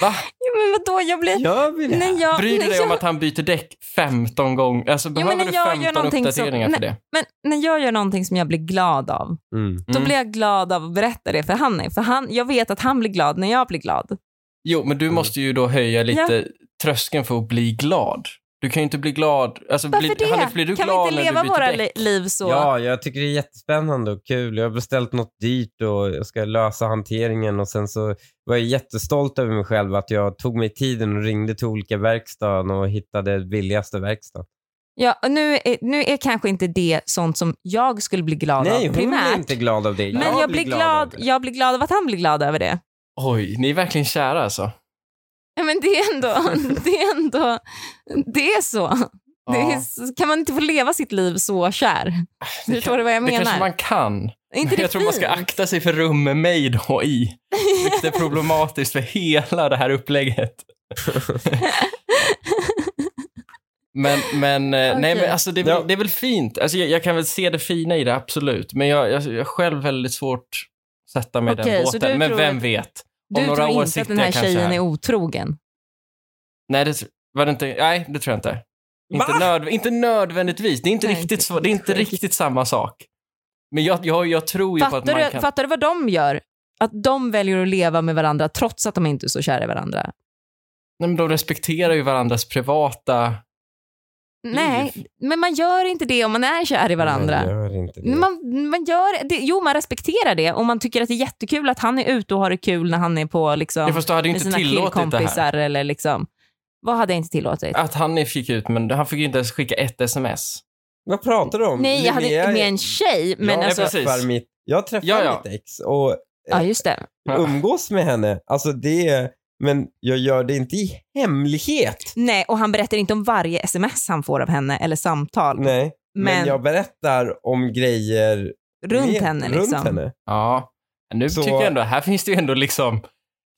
Va? Ja, men vadå, jag blir... Gör vi det? Nej, jag, Bryr du nej, dig jag, om att han byter däck 15 gånger? Alltså men behöver när jag gör du 15 någonting som- uppdateringar för det? Men när jag gör någonting som jag blir glad av, Mm. då Mm. blir jag glad av att berätta det för Hanni. För han, jag vet att han blir glad när jag blir glad. Jo, men du måste ju då höja lite tröskeln för att bli glad. Du kan ju inte bli glad... Alltså, Varför blir, det? Hanif, blir du kan glad vi inte när leva du byter våra däck? li- liv så? Ja, jag tycker det är jättespännande och kul. Jag har beställt något dyrt och jag ska lösa hanteringen och sen så var jag jättestolt över mig själv att jag tog mig tiden och ringde till olika verkstaden och hittade billigaste verkstaden. Ja, och nu, är, nu är kanske inte det sånt som jag skulle bli glad Nej, av hon blir primärt. inte glad av det. men jag, blir glad, av det. jag blir glad av att han blir glad över det. Oj, ni är verkligen kära alltså. Ja, Men det är ändå... det är, ändå, det är så. Det Ja. är, så- kan man inte få leva sitt liv så kär? Det Du kan- förstår vad jag Det kanske menar? man kan. Är inte det jag tror man ska fint? akta sig för rum med mig då i. Vilket är problematiskt för hela det här upplägget. men, men, eh, Okej. nej men alltså det är, väl- Ja. det är väl fint. Alltså jag, jag kan väl se det fina i det, absolut. Men jag, jag, jag har själv väldigt svårt att sätta mig i Okej, den så du båten. Men tror vem att- vet? Om Du några tror år inte att den sitter här jag kanske tjejen här. är otrogen? Nej, det, tr- var det inte, nej, det tror jag inte. Inte, Va? nöd, inte nödvändigtvis. Det är inte, Nej, riktigt, inte så, det är inte sjukt. riktigt samma sak. Men jag, jag, jag tror ju på att man Fattar du, kan... fattar du vad de gör? Att de väljer att leva med varandra trots att de inte är så kära i varandra. Nej, men de respekterar ju varandras privata... Nej, men man gör inte det om man är kär i Nej, varandra. jag gör inte det. Man, man gör det, jo, man respekterar det och man tycker att det är jättekul att han är ute och har det kul när han är på liksom, Jag förstår, hade ju med inte sina tillåtit det här. killkompisar. Eller liksom. Vad hade jag inte tillåtit? Att han fick ut, men han fick ju inte ens skicka ett sms. Vad pratar du om? Nej, jag hade Linnea- inte med en tjej, men Ja, ja, alltså... precis. träffar mitt, jag träffar Ja, ja. mitt ex och Ja, just det. umgås med henne. Alltså det är, men jag gör det inte i hemlighet. Nej, och han berättar inte om varje sms han får av henne eller samtal. Nej, men, men jag berättar om grejer runt med, henne liksom. runt henne. Ja, men nu Så- tycker jag ändå, här finns det ju ändå liksom...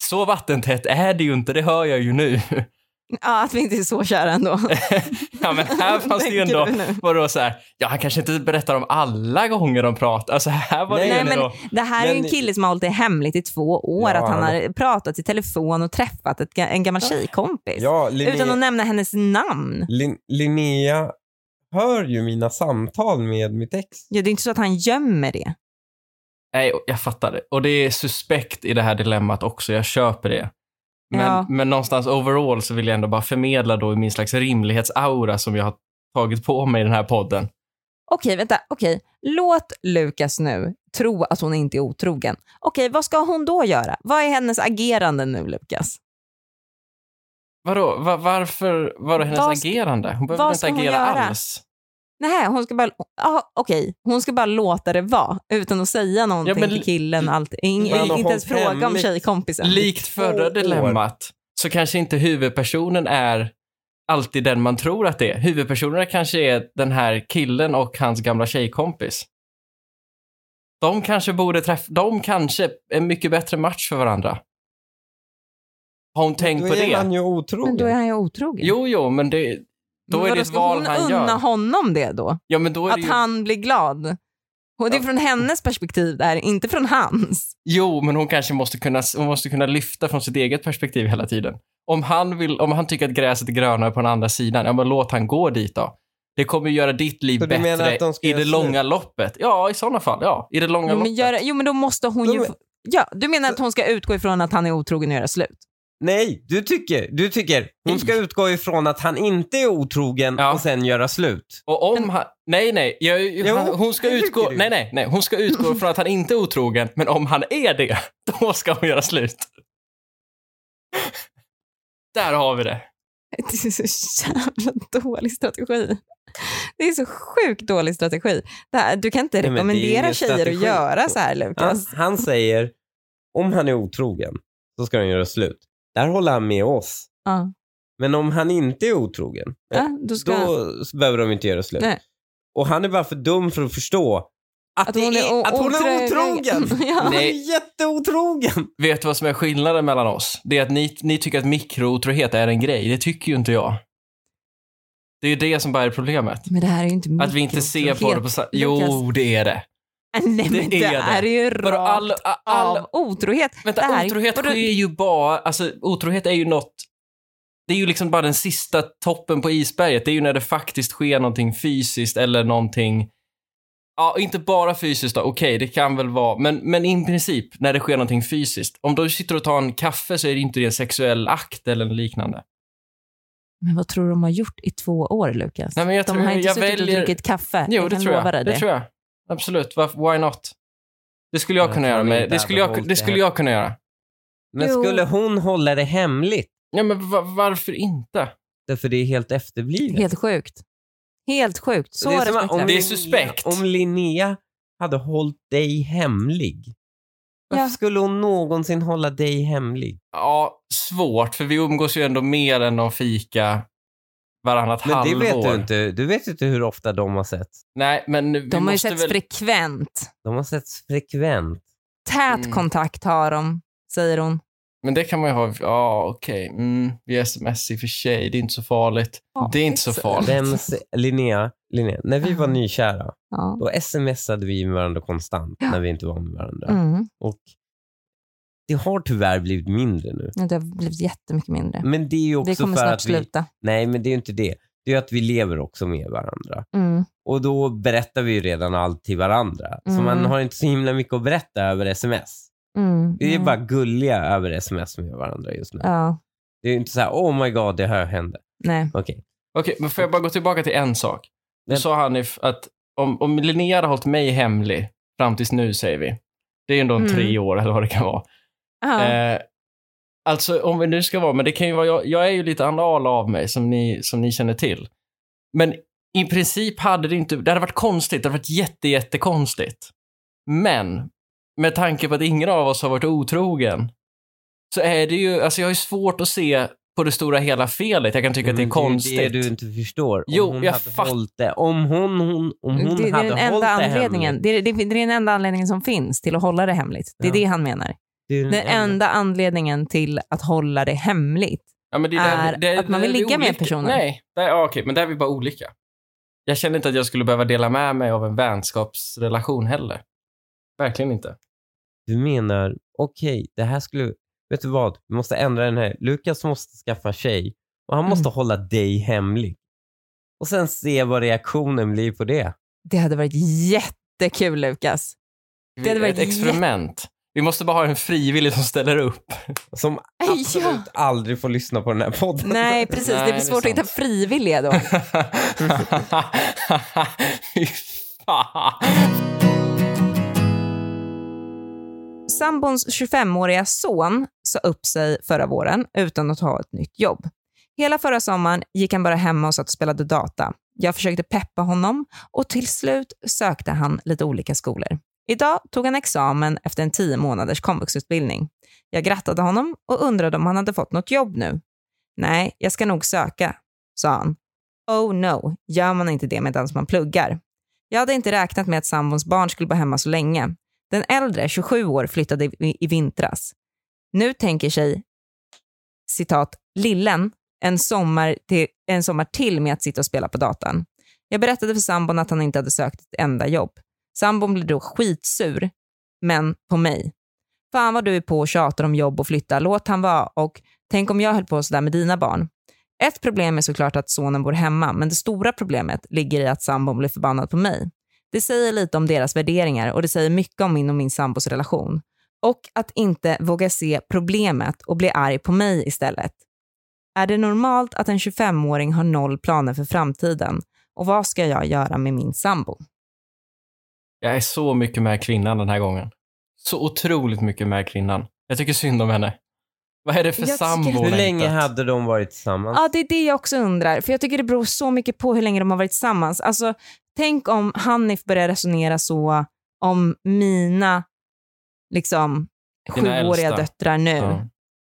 Så vattentätt är det ju inte, det hör jag ju nu. Ja, att vi inte är så kära ändå. ja, men här fanns det ju Tänker ändå, du nu? vadå så här, ja han kanske inte berättar om alla gånger de pratar. Alltså här var det Nej, Nej, ju men- ändå, men det här är ju en Men- kille som har hållit det hemligt i två år, Ja, att han han- har pratat i telefon och träffat ett, ga- en gammal tjejkompis. Ja, Linnea, utan att nämna hennes namn. Lin, Linnea hör ju mina samtal med mitt ex. Ja, det är inte så att han gömmer det. nej jag fattar det. Och det är suspekt i det här dilemmat också, jag köper det. Men, Ja. men någonstans overall så vill jag ändå bara förmedla då i min slags rimlighetsaura som jag har tagit på mig i den här podden. Okej, vänta. Okej. Låt Lukas nu tro att hon inte är otrogen. Okej, vad ska hon då göra? Vad är hennes agerande nu, Lukas? Vadå, va, varför, vadå hennes Vad ska- agerande? Hon behöver vad väl inte ska hon agera göra? alls? Nej, hon ska bara, ah, okej, hon ska bara låta det vara utan att säga någonting Ja, men- till killen. Allt, in, Man har inte ens hållit fråga om hemligt. tjejkompisen. Likt förra år. dilemmat så kanske inte huvudpersonen är alltid den man tror att det är. Huvudpersonen kanske är den här killen och hans gamla tjejkompis. De kanske borde träffa, de kanske är en mycket bättre match för varandra. Har hon tänkt Då på är det? han ju otrogen. Men då är han ju otrogen. Jo, jo, men det, då Men är vadå, det ett ska val hon han unna gör. honom det då? Ja, men då är det Att ju, han blir glad? Och det är Ja. från hennes perspektiv där, inte från hans. Jo, men hon kanske måste kunna, hon måste kunna lyfta från sitt eget perspektiv hela tiden. Om han, vill, om han tycker att gräset är grönare på den andra sidan, ja men låt han gå dit då. Det kommer ju göra ditt liv Så du menar bättre att de ska i göra det slut? långa loppet. Ja, i sådana fall. Ja, i det långa Jo men, loppet. gör, jo, men då måste hon Då ju... men- Ja, du menar att hon ska utgå ifrån att han är otrogen och göra slut? Nej, du tycker, du tycker hon ska utgå ifrån att han inte är otrogen Mm. Ja. och sen göra slut. Och om han, nej, nej. Jag, han, hon, ska det tycker utgå, du. nej, nej, nej. Hon ska utgå från att han inte är otrogen, men om han är det, då ska hon göra slut. Där har vi det. Det är så jävla dålig strategi. Det är så sjukt dålig strategi. Det här, du kan inte Nej, men det är rekommendera ingen tjejer strategi. att göra så här Han, Lukas. han säger, om han är otrogen så ska han göra slut. Där håller han med oss. Ja. Men om han inte är otrogen, Ja, då ska, då behöver de inte göra slut. Nej. Och han är bara för dum för att förstå att, Att det hon är o- är, att hon är otrogen. otrogen. Ja. Hon Nej. är jätteotrogen. Vet du vad som är skillnaden mellan oss? Det är att ni, ni tycker att mikrootrohet är en grej. Det tycker ju inte jag. Det är ju det som bara är problemet. Men det här är ju inte Att vi inte ser på det på samma... Jo, Lukas. det är det. Nej, Det men det, är det. är ju rakt Vadå, all, all, all, av otrohet. vänta, det här- otrohet vadå? sker ju bara... Alltså, otrohet är ju något... Det är ju liksom bara den sista toppen på isberget. Det är ju när det faktiskt sker någonting fysiskt eller någonting... Ja, inte bara fysiskt då. Okej, det kan väl vara... Men, men i princip, när det sker någonting fysiskt. Om du sitter och tar en kaffe så är det inte det en sexuell akt eller liknande. Men vad tror du de har gjort i två år, Lukas? Nej, men jag de tror- har inte jag suttit väljer- och druckit kaffe. Jo, jag det kan tror jag. lova Det. dig det. tror jag. Absolut. Varför, why not? Det skulle jag Jag kunna tror göra. Med, inte det, att skulle de jag, hållit det det skulle hem- jag kunna göra. Men Jo. skulle hon hålla det hemligt? Ja, men va, varför inte? Därför det är helt efterblivet. Helt sjukt. Helt sjukt. Så Det är som att respektlöst. om Det är Linnea- suspekt. Om Linnea hade hållit dig hemlig, varför Ja. skulle hon någonsin hålla dig hemlig? Ja, svårt. För vi umgås ju ändå mer än de fika varannat Men det halvår. vet du inte. Du vet inte hur ofta de har sett. Nej, men vi De har ju måste setts väl... frekvent. De har sett frekvent. Tät Mm. kontakt har de, säger hon. Men det kan man ju ha. Ja, okej. Mm, vi sms i och för sig. Det är inte så farligt. Ja, det är inte så exakt. farligt. Vem, se- Linnea, Linnea, när vi var Ja. nykära, Ja. då smsade vi med varandra konstant när vi inte var med varandra. Mm. Och det har tyvärr blivit mindre nu. Ja, Det har blivit jättemycket mindre. Men det är ju Det också kommer för snart att vi... sluta. Nej, men det är ju inte det. Det är ju att vi lever också med varandra. Mm. Och då berättar vi ju redan allt till varandra. Så Mm. man har inte så himla mycket att berätta över sms. Mm. Vi är Mm. bara gulliga över sms med varandra just nu. Ja, Det är ju inte så här, oh my god, det här hände. nej. Okej. Okej, men får jag bara gå tillbaka till en sak? Nu Men- sa Hanif att om, om Linnea hade hållit mig hemlig fram tills nu, säger vi. Det är ju ändå Mm. tre år eller vad det kan vara. Ja. Eh, alltså om vi nu ska vara, men det kan ju vara, jag, jag är ju lite anal av mig som ni, som ni känner till. Men i princip hade det inte, det hade varit konstigt, det hade varit jätte, jättekonstigt. Men med tanke på att ingen av oss har varit otrogen så är det ju, alltså jag har ju svårt att se på det stora hela felet. Jag kan tycka Men att det är konstigt. Mm, Det är det du inte förstår. Om Jo, hon jag hade fatt- hållit det. Om hon, hon, om hon det, det är hade den hållit enda det anledningen. hemligt. Det är, det, är- det är den enda anledningen som finns till att hålla det hemligt. Det Ja. är Mm, det han menar. Det är Den enda anledningen till att hålla det hemligt Ja, men det där- är det- att man det vill där är ligga med olika. personen. Nej, där, ja, okej, men där är vi bara olika. Jag kände inte att jag skulle behöva dela med mig av en vänskapsrelation heller. Verkligen inte. Du menar, okej, det här skulle... Vet du vad? Vi måste ändra den här. Lukas måste skaffa tjej och han Mm. måste hålla dig hemlig. Och sen se vad reaktionen blir på det. Det hade varit jättekul Lukas. Det hade varit ett experiment. Vi måste bara ha en frivillig som ställer upp. Som Ja. absolut aldrig får lyssna på den här podden. Nej, precis. Nej, det det blir är svårt att sant. hitta frivilliga då. Fy fan. Sambons 25-åriga son sa upp sig förra våren utan att ha ett nytt jobb. Hela förra sommaren gick han bara hemma och satt och spelade data. Jag försökte peppa honom och till slut sökte han lite olika skolor. Idag tog han examen efter en tio månaders komvuxutbildning. Jag grattade honom och undrade om han hade fått något jobb nu. Nej, jag ska nog söka, sa han. Oh no, gör man inte det medan man pluggar? Jag hade inte räknat med att sambons barn skulle vara hemma så länge. Den äldre, 27 år, flyttade i, i vintras. Nu tänker sig, citat, lillen en sommar, till, en sommar till med att sitta och spela på datan. Jag berättade för sambon att han inte hade sökt ett enda jobb. Sambon blev då skitsur, men på mig. Fan vad du är på och tjatar om jobb och flytta, låt han vara och tänk om jag höll på sådär med dina barn. Ett problem är såklart att sonen bor hemma, men det stora problemet ligger i att sambon blir förbannad på mig. Det säger lite om deras värderingar och det säger mycket om min och min sambos relation. Och att inte våga se problemet och bli arg på mig istället. Är det normalt att en 25-åring har noll planer för framtiden? Och vad ska jag göra med min sambo? Jag är så mycket med kvinnan den här gången. Så otroligt mycket med kvinnan. Jag tycker synd om henne. Vad är det för Jag tycker- sambo hon Hur har länge hittat? hade de varit tillsammans? Ja, det är det jag också undrar. För jag tycker det beror så mycket på hur länge de har varit tillsammans. Alltså, tänk om Hanif börjar resonera så om mina liksom, Dina sjuåriga äldsta. döttrar nu. Ja.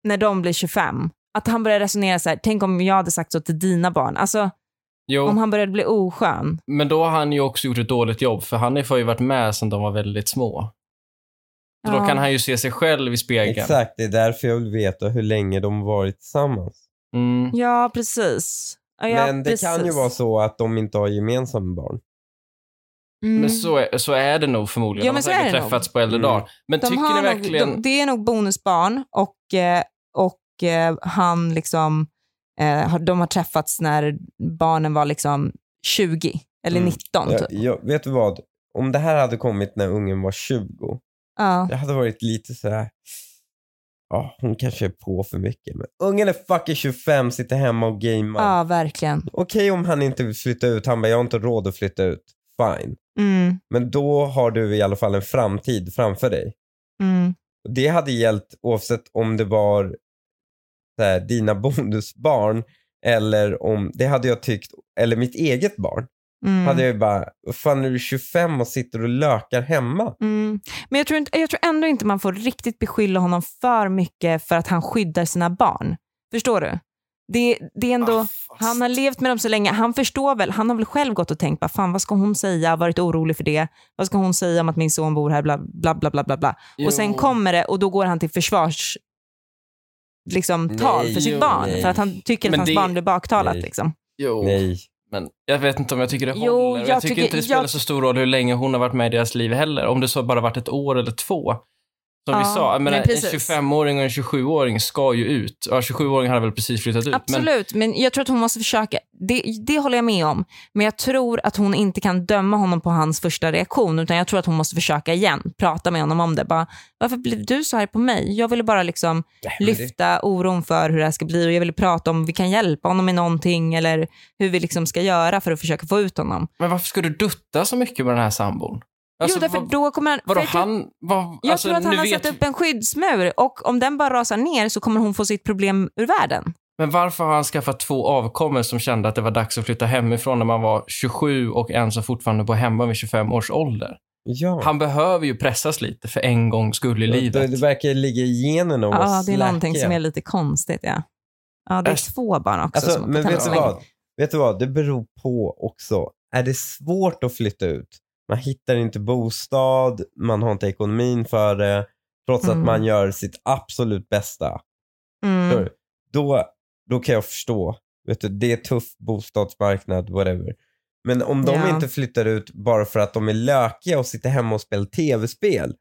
när de blir 25. Att han börjar resonera så här, tänk om jag hade sagt så till dina barn. Alltså Jo, om han började bli oskön. men då har han ju också gjort ett dåligt jobb, för Hanif har ju varit med sedan de var väldigt små. Så Då Ja. kan han ju se sig själv i spegeln. Exakt, det är därför jag vill veta hur länge de har varit tillsammans. Mm. Ja, precis. Ja, ja, Men det precis. kan ju vara så att de inte har gemensamma barn. Mm. Men så är, så är det nog förmodligen. Ja, men de har så säkert är det nog. träffats på äldre Mm. dagar. Men de tycker har ni nog- verkligen... de, det är nog bonusbarn och, eh, och eh, han liksom, eh, har- de har träffats när barnen var liksom 20 eller Mm. 19 typ. Jag, jag, vet du vad? Om det här hade kommit när ungen var 20, Ja. jag hade varit lite så här. Ja, hon kanske är på för mycket. Men ungen är fucking 25, sitter hemma och gamear. ja, verkligen. Okej om han inte vill flytta ut, han bara jag har inte råd att flytta ut. Fine. Mm, Men då har du i alla fall en framtid framför dig. mm, Det hade gällt oavsett om det var så här, dina bonusbarn eller om, det hade jag tyckt, eller mitt eget barn. mm. hade jag ju bara, "Vad fan är du 25 och sitter och lökar hemma? Mm. Men jag tror, inte, jag tror ändå inte man får riktigt beskylla honom för mycket för att han skyddar sina barn. Förstår du? Det, det är ändå, Ah, fast. han har levt med dem så länge, han förstår väl, han har väl själv gått och tänkt, bara, fan vad ska hon säga, varit orolig för det, vad ska hon säga om att min son bor här, bla bla bla bla bla. bla. Jo. Och sen kommer det och då går han till försvars liksom, tal Nej, för sitt jo, barn, nej. för att han tycker att Men hans det- barn blir baktalat. nej. Liksom. Jo. Nej. Men jag vet inte om jag tycker det Jo, håller. jag, jag tycker, tycker- inte det spelar jag- så stor roll hur länge hon har varit med i deras liv heller. Om det så bara varit ett år eller två. Som Ja, vi sa, jag men menar, en precis. 25-åring och en 27-åring ska ju ut. Ja, 27-åringen hade väl precis flyttat ut. typ, Men Absolut, men... jag tror att hon måste försöka. Det, det håller jag med om. Men jag tror att hon inte kan döma honom på hans första reaktion, utan jag tror att hon måste försöka igen. Prata med honom om det. Bara, varför blev du så här på mig? Jag ville bara liksom men det- lyfta oron för hur det här ska bli och jag ville prata om vi kan hjälpa honom med någonting eller hur vi liksom ska göra för att försöka få ut honom. Men varför ska du dutta så mycket med den här sambon? Alltså, jo, därför vad, då kommer han... för vadå, jag tror- han... Vad, jag alltså, tror att han nu har vet, satt upp en skyddsmur och om den bara rasar ner så kommer hon få sitt problem ur världen. Men varför har han skaffat två avkommor som kände att det var dags att flytta hemifrån när man var 27 och en som fortfarande bor hemma vid 25 års ålder? Ja. Han behöver ju pressas lite för en gångs skull i Det, livet. det verkar ligga i generna att vara Ja, det är någonting slackiga. som är lite konstigt. Ja, ja det är Äsch. två barn också. som alltså, har Men fått vet du, hemsläng. vad? vet du vad? Det beror på också. Är det svårt att flytta ut? Man hittar inte bostad, man har inte ekonomin för det, trots Mm. att man gör sitt absolut bästa. Mm. Då då kan jag förstå. Vet du, det är tuff bostadsmarknad, whatever. Men om de Ja. inte flyttar ut bara för att de är lökiga och sitter hemma och spelar tv-spel,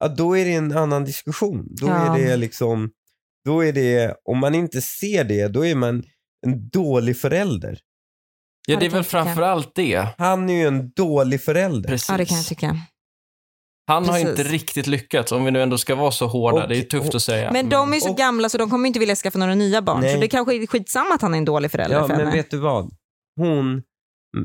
ja, då är det en annan diskussion. Då Ja. är det liksom, då är det, om man inte ser det, då är man en dålig förälder. Ja, Ja, det är det väl kan jag tycka. framför allt det. Han är ju en dålig förälder. Precis. Ja, det kan jag tycka. Han har Precis. inte riktigt lyckats, om vi nu ändå ska vara så hårda. Och- det är ju tufft och- att säga. Men de är så Och- gamla så de kommer inte vilja skaffa några nya barn. Nej. Så det kanske är skitsamma att han är en dålig förälder Ja, för men henne. vet du vad? Hon,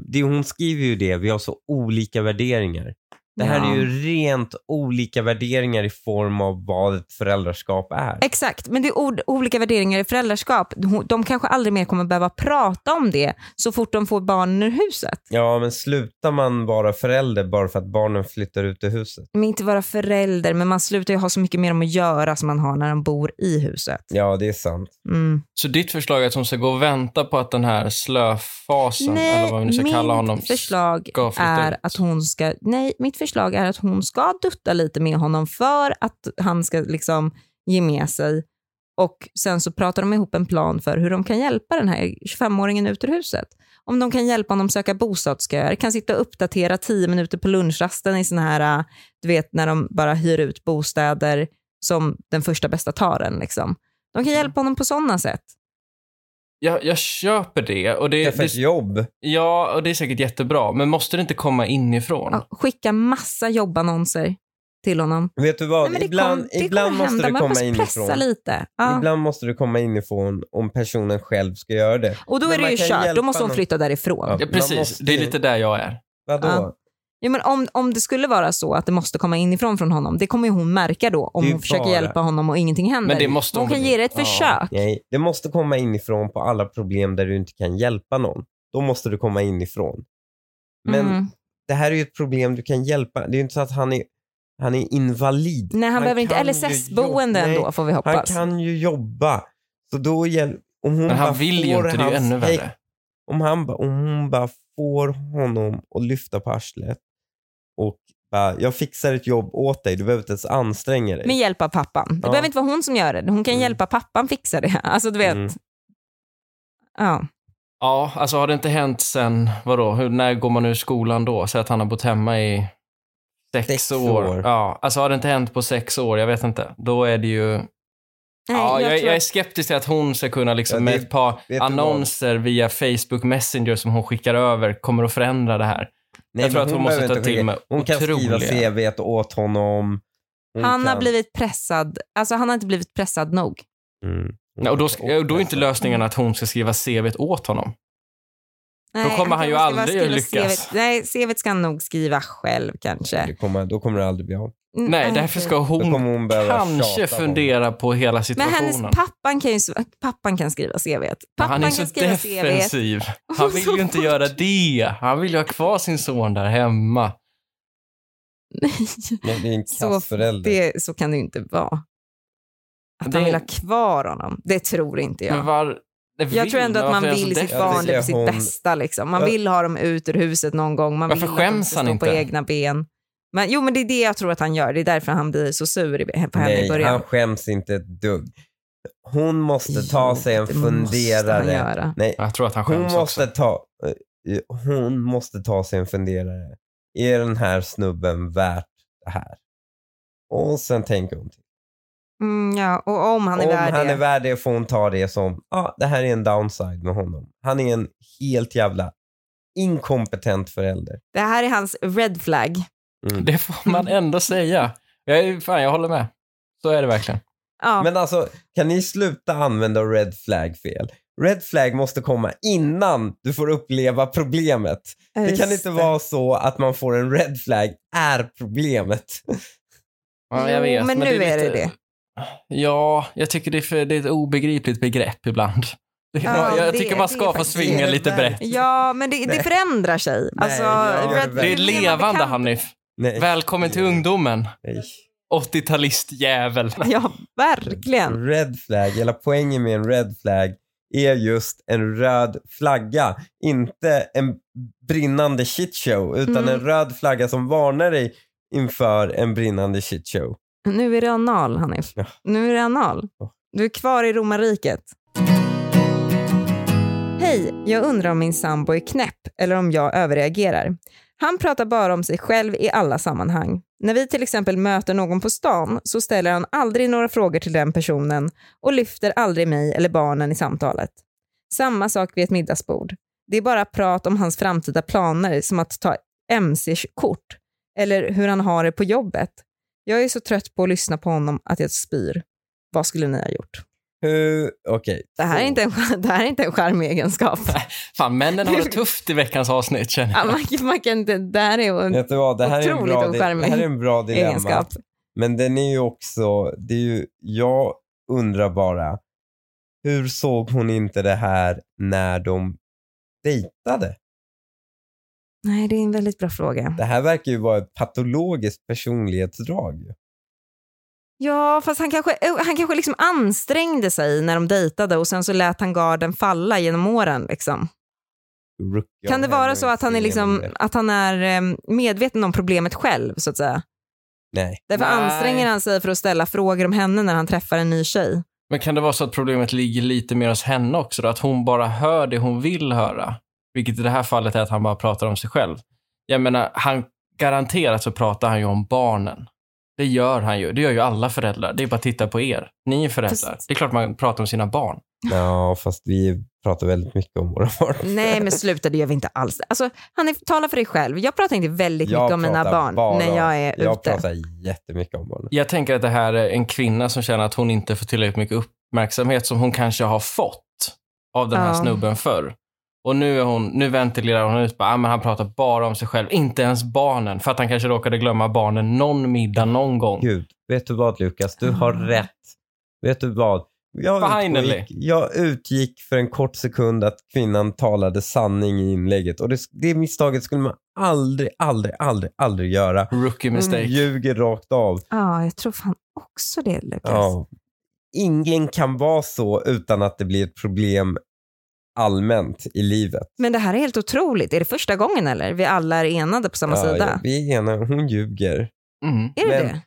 det, hon skriver ju det, vi har så olika värderingar. Det här Ja. är ju rent olika värderingar i form av vad ett föräldraskap är. Exakt, men det är ord, olika värderingar i föräldraskap. Hon- De kanske aldrig mer kommer behöva prata om det så fort de får barnen ur huset. Ja, men slutar man vara förälder bara för att barnen flyttar ut ur huset? Men inte vara förälder, men man slutar ju ha så mycket mer om att göra som man har när de bor i huset. Ja, det är sant. Mm. Så ditt förslag är att hon ska gå och vänta på att den här slöfasen, eller vad vi nu ska mitt kalla honom, förslag ska flytta är ut. att hon ska... Nej, mitt förslag är att hon ska dutta lite med honom för att han ska liksom ge med sig. Och sen så pratar de ihop en plan för hur de kan hjälpa den här 25-åringen ut ur huset. Om de kan hjälpa honom söka bostadsköer, kan sitta och uppdatera 10 minuter på lunchrasten i såna här, äh, du vet när de bara hyr ut bostäder som den första bästa tar en. Liksom. De Mm. kan hjälpa honom på sådana sätt. Jag, jag köper det. Och det, Skaffa ett det jobb. ja, och det är säkert jättebra. Men måste det inte komma inifrån? Ja, skicka massa jobbannonser till honom. Vet du vad? Nej, men det ibland kom- det ibland kommer måste hända. det Man komma måste inifrån. pressa lite. Ja. Ibland måste det komma inifrån om personen själv ska göra det. Och då Men är det man ju kan kört. hjälpa Då måste hon någon. flytta därifrån. Ja. Ja. ja, precis. man måste- Det är lite där jag är. Vadå? Ja. men om, om det skulle vara så att det måste komma inifrån från honom, det kommer ju hon märka då om Det är hon försöker bara- hjälpa honom och ingenting händer. Men det måste hon hon kan väl- ge det ett ja. försök. Nej, det måste komma inifrån på alla problem där du inte kan hjälpa någon. Då måste det komma inifrån. Men Mm. det här är ju ett problem du kan hjälpa. Det är ju inte så att han är, han är invalid. Nej, han, behöver inte kan ju LSS-boende jobba. Nej, ändå får vi Han hoppas. kan ju jobba. Så då hjäl- om hon Men han bara vill ju får inte. Det är ju hans ännu häck- värre. Om, han, ba- om hon bara får honom att lyfta på arslet och bara, jag fixar ett jobb åt dig, du behöver inte ens anstränga dig. Med hjälp av pappan. Det Ja. behöver inte vara hon som gör det. Hon kan Mm. hjälpa pappan fixa det. Alltså du vet. Mm. Ja. Ja, alltså har det inte hänt sen, vadå, hur, när går man ur skolan då? Säg att han har bott hemma i sex, Sex år. år. Ja, alltså har det inte hänt på sex år, jag vet inte. Då är det ju... Nej, ja, jag, jag, tror är skeptisk till att hon ska kunna liksom Ja, det- med ett par du vad? annonser via Facebook Messenger som hon skickar över kommer att förändra det här. Nej, jag tror men att hon måste behöver ta inte skicka- till med Hon kan skriva otroliga... CV åt honom. Hon han har kan- blivit pressad. Alltså han har inte blivit pressad nog. Mm. Nej, och då, ska- och då är inte lösningen att hon ska skriva CVt åt honom. Mm. Nej, kommer han ju kanske ska aldrig bara att skriva lyckas. CVt. Nej, CVt ska han nog skriva själv kanske. Det kommer, då kommer det aldrig bli av. Mm, Nej, nej, därför ska Då kommer hon hon behöva kanske tjata på honom. fundera på hela Men situationen. hennes pappan kan ju s- pappan kan skriva CVt. Pappan han är så kan skriva CVt. defensiv. Han vill ju inte göra det. Han vill ju ha kvar sin son där hemma. Nej, det är en så, kass förälder. det, så kan det ju inte vara. Att Det- han vill ha kvar honom, det tror inte Men jag. var... det Jag tror vill, ändå att varför man är han så vill sitt defensiv? defensiv? barn Jag tycker på sitt hon- bästa. Liksom. Man Jag- vill ha dem ut ur huset någon gång. Man Varför vill att de skäms ska han stå på inte? egna ben. Men, jo, men det är det jag tror att han gör. Det är därför han blir så sur i- på henne i Nej, början. han skäms inte ett dugg. Hon måste ta Jo, sig en det Måste han funderare. göra. Nej, Jag tror att han hon skäms måste, också. ta, eh, hon måste ta sig en funderare. Är den här snubben värt det här? Och sen tänker hon till. Mm, ja, och om han är Om värd han det. är värd det får hon ta det som, ja ah, det här är en downside med honom. Han är en helt jävla inkompetent förälder. Det här är hans red flag. Mm. Det får man ändå säga. Jag, är, fan, jag håller med. Så är det verkligen. Ja. Men alltså, kan ni sluta använda red flag fel? Red flag måste komma innan du får uppleva problemet. Det kan inte vara så att man får en red flag är problemet. Ja, jag Jo, vet. men nu är det det. Ja, jag tycker det är, för, det är ett obegripligt begrepp ibland. Det, Ja, jag det- tycker man det är ska få faktiskt- det svinga är lite verkligen- brett. Ja, men det, Nej. det förändrar sig. Nej, Alltså, jag- red- Det Det är blir man levande, bekant- Hanif. Nej. Välkommen till ungdomen. Nej. 80-talistjävel. Ja, verkligen. Red flag, hela poängen med en red flag är just en röd flagga. Inte en brinnande shitshow, utan Mm. en röd flagga som varnar dig inför en brinnande shitshow. Nu är det anal, Hanif. Ja. Nu är det anal. Du är kvar i romarriket. Hej, jag undrar om min sambo är knäpp eller om jag överreagerar. Han pratar bara om sig själv i alla sammanhang. När vi till exempel möter någon på stan så ställer han aldrig några frågor till den personen och lyfter aldrig mig eller barnen i samtalet. Samma sak vid ett middagsbord. Det är bara prat om hans framtida planer som att ta mc-kort eller hur han har det på jobbet. Jag är så trött på att lyssna på honom att jag spyr. Vad skulle ni ha gjort? Hur, okej. Det här är inte en, skär- det här är inte en charmig egenskap. Fan, männen har det tufft i veckans avsnitt känner jag. Ja, man, man kan inte, där är en Vet du vad, det här, är en Otroligt bra, det ocharmig här är en bra dilemma. egenskap. Men den är ju också, det är ju, jag undrar bara, hur såg hon inte det här när de dejtade? Nej, det är en väldigt bra fråga. Det här verkar ju vara ett patologiskt personlighetsdrag. ju. Ja, fast han kanske, eh, han kanske liksom ansträngde sig när de dejtade och sen så lät han garden falla genom åren. Liksom. Rookie kan det av vara Henrik så att han är, liksom, Stenbeck. att han är eh, medveten om problemet själv, så att säga? Nej. Därför Nej. anstränger han sig för att ställa frågor om henne när han träffar en ny tjej. Men kan det vara så att problemet ligger lite mer hos henne också? Då? Att hon bara hör det hon vill höra. Vilket i det här fallet är att han bara pratar om sig själv. Jag menar, han, garanterat så pratar han ju om barnen. Det gör han ju. Det gör ju alla föräldrar. Det är bara att titta på er. Ni är föräldrar. Fast- Det är klart man pratar om sina barn. Ja, fast vi pratar väldigt mycket om våra barn. Nej, men sluta, det gör vi inte alls. Alltså, han är, tala för dig själv. Jag pratar inte väldigt Jag mycket om mina pratar barn bara- när jag är Jag ute. pratar jättemycket om barnen. Jag tänker att det här är en kvinna som känner att hon inte får tillräckligt mycket uppmärksamhet som hon kanske har fått av den här Ja. snubben förr. Och nu, är hon, nu ventilerar hon ut bara, ah, men han pratar bara om sig själv, inte ens barnen. För att han kanske råkade glömma barnen någon middag någon gång. Gud, vet du vad Lukas? Du har Ah. rätt. Vet du vad? Jag Finally. utgick, jag utgick för en kort sekund att kvinnan talade sanning i inlägget och det, det misstaget skulle man aldrig, aldrig, aldrig, aldrig göra. Mm. Rookie Mm. mistake. Ljuger rakt av. Ja, jag tror fan också det, Lukas. Ja. Ingen kan vara så utan att det blir ett problem allmänt i livet. Men det här är helt otroligt. Är det första gången eller? Vi alla är enade på samma Ja, ja, sida. vi är ena, hon ljuger. Mm. Är det Men- det?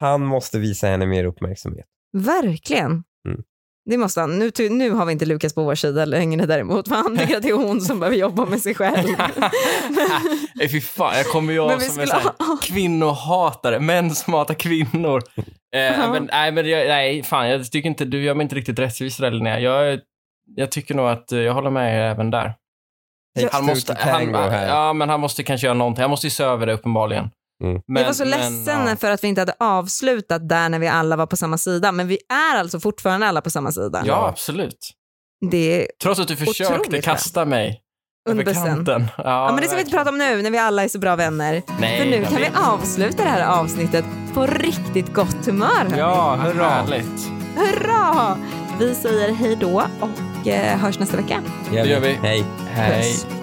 Han måste visa henne mer uppmärksamhet. Verkligen. Mm. Det måste han. Nu, ty- nu har vi inte Lukas på vår sida längre däremot, för han tycker att det är hon som behöver jobba med sig själv. Nej, fy fan. Jag kommer ju av Men vi som en skulle sån här ha- kvinnohatare. Män som hatar kvinnor. Eh, men, nej, men jag, nej, fan. Jag tycker inte, du gör mig inte riktigt rättvis där, Linnea. Jag, jag tycker nog att eh, jag håller med er även där. Takes Han two måste, to tango han, här. ja, men han måste kanske göra någonting. Han måste ju se över det uppenbarligen. Mm. Men- jag var så men, ledsen ja. för att vi inte hade avslutat där när vi alla var på samma sida, men vi är alltså fortfarande alla på samma sida. Ja, absolut. Det är Trots att du försökte Otroligt kasta mig över underbästen. kanten. Ja, Ja, men det ska vi inte prata om nu när vi alla är så bra vänner. För nu kan vi avsluta det här avsnittet på riktigt gott humör. hörni. Ja, Hurra. hurra. Härligt. Hurra! Vi säger hej då och eh, hörs nästa vecka. Ja, Det gör vi. Hej. Hej. Puss.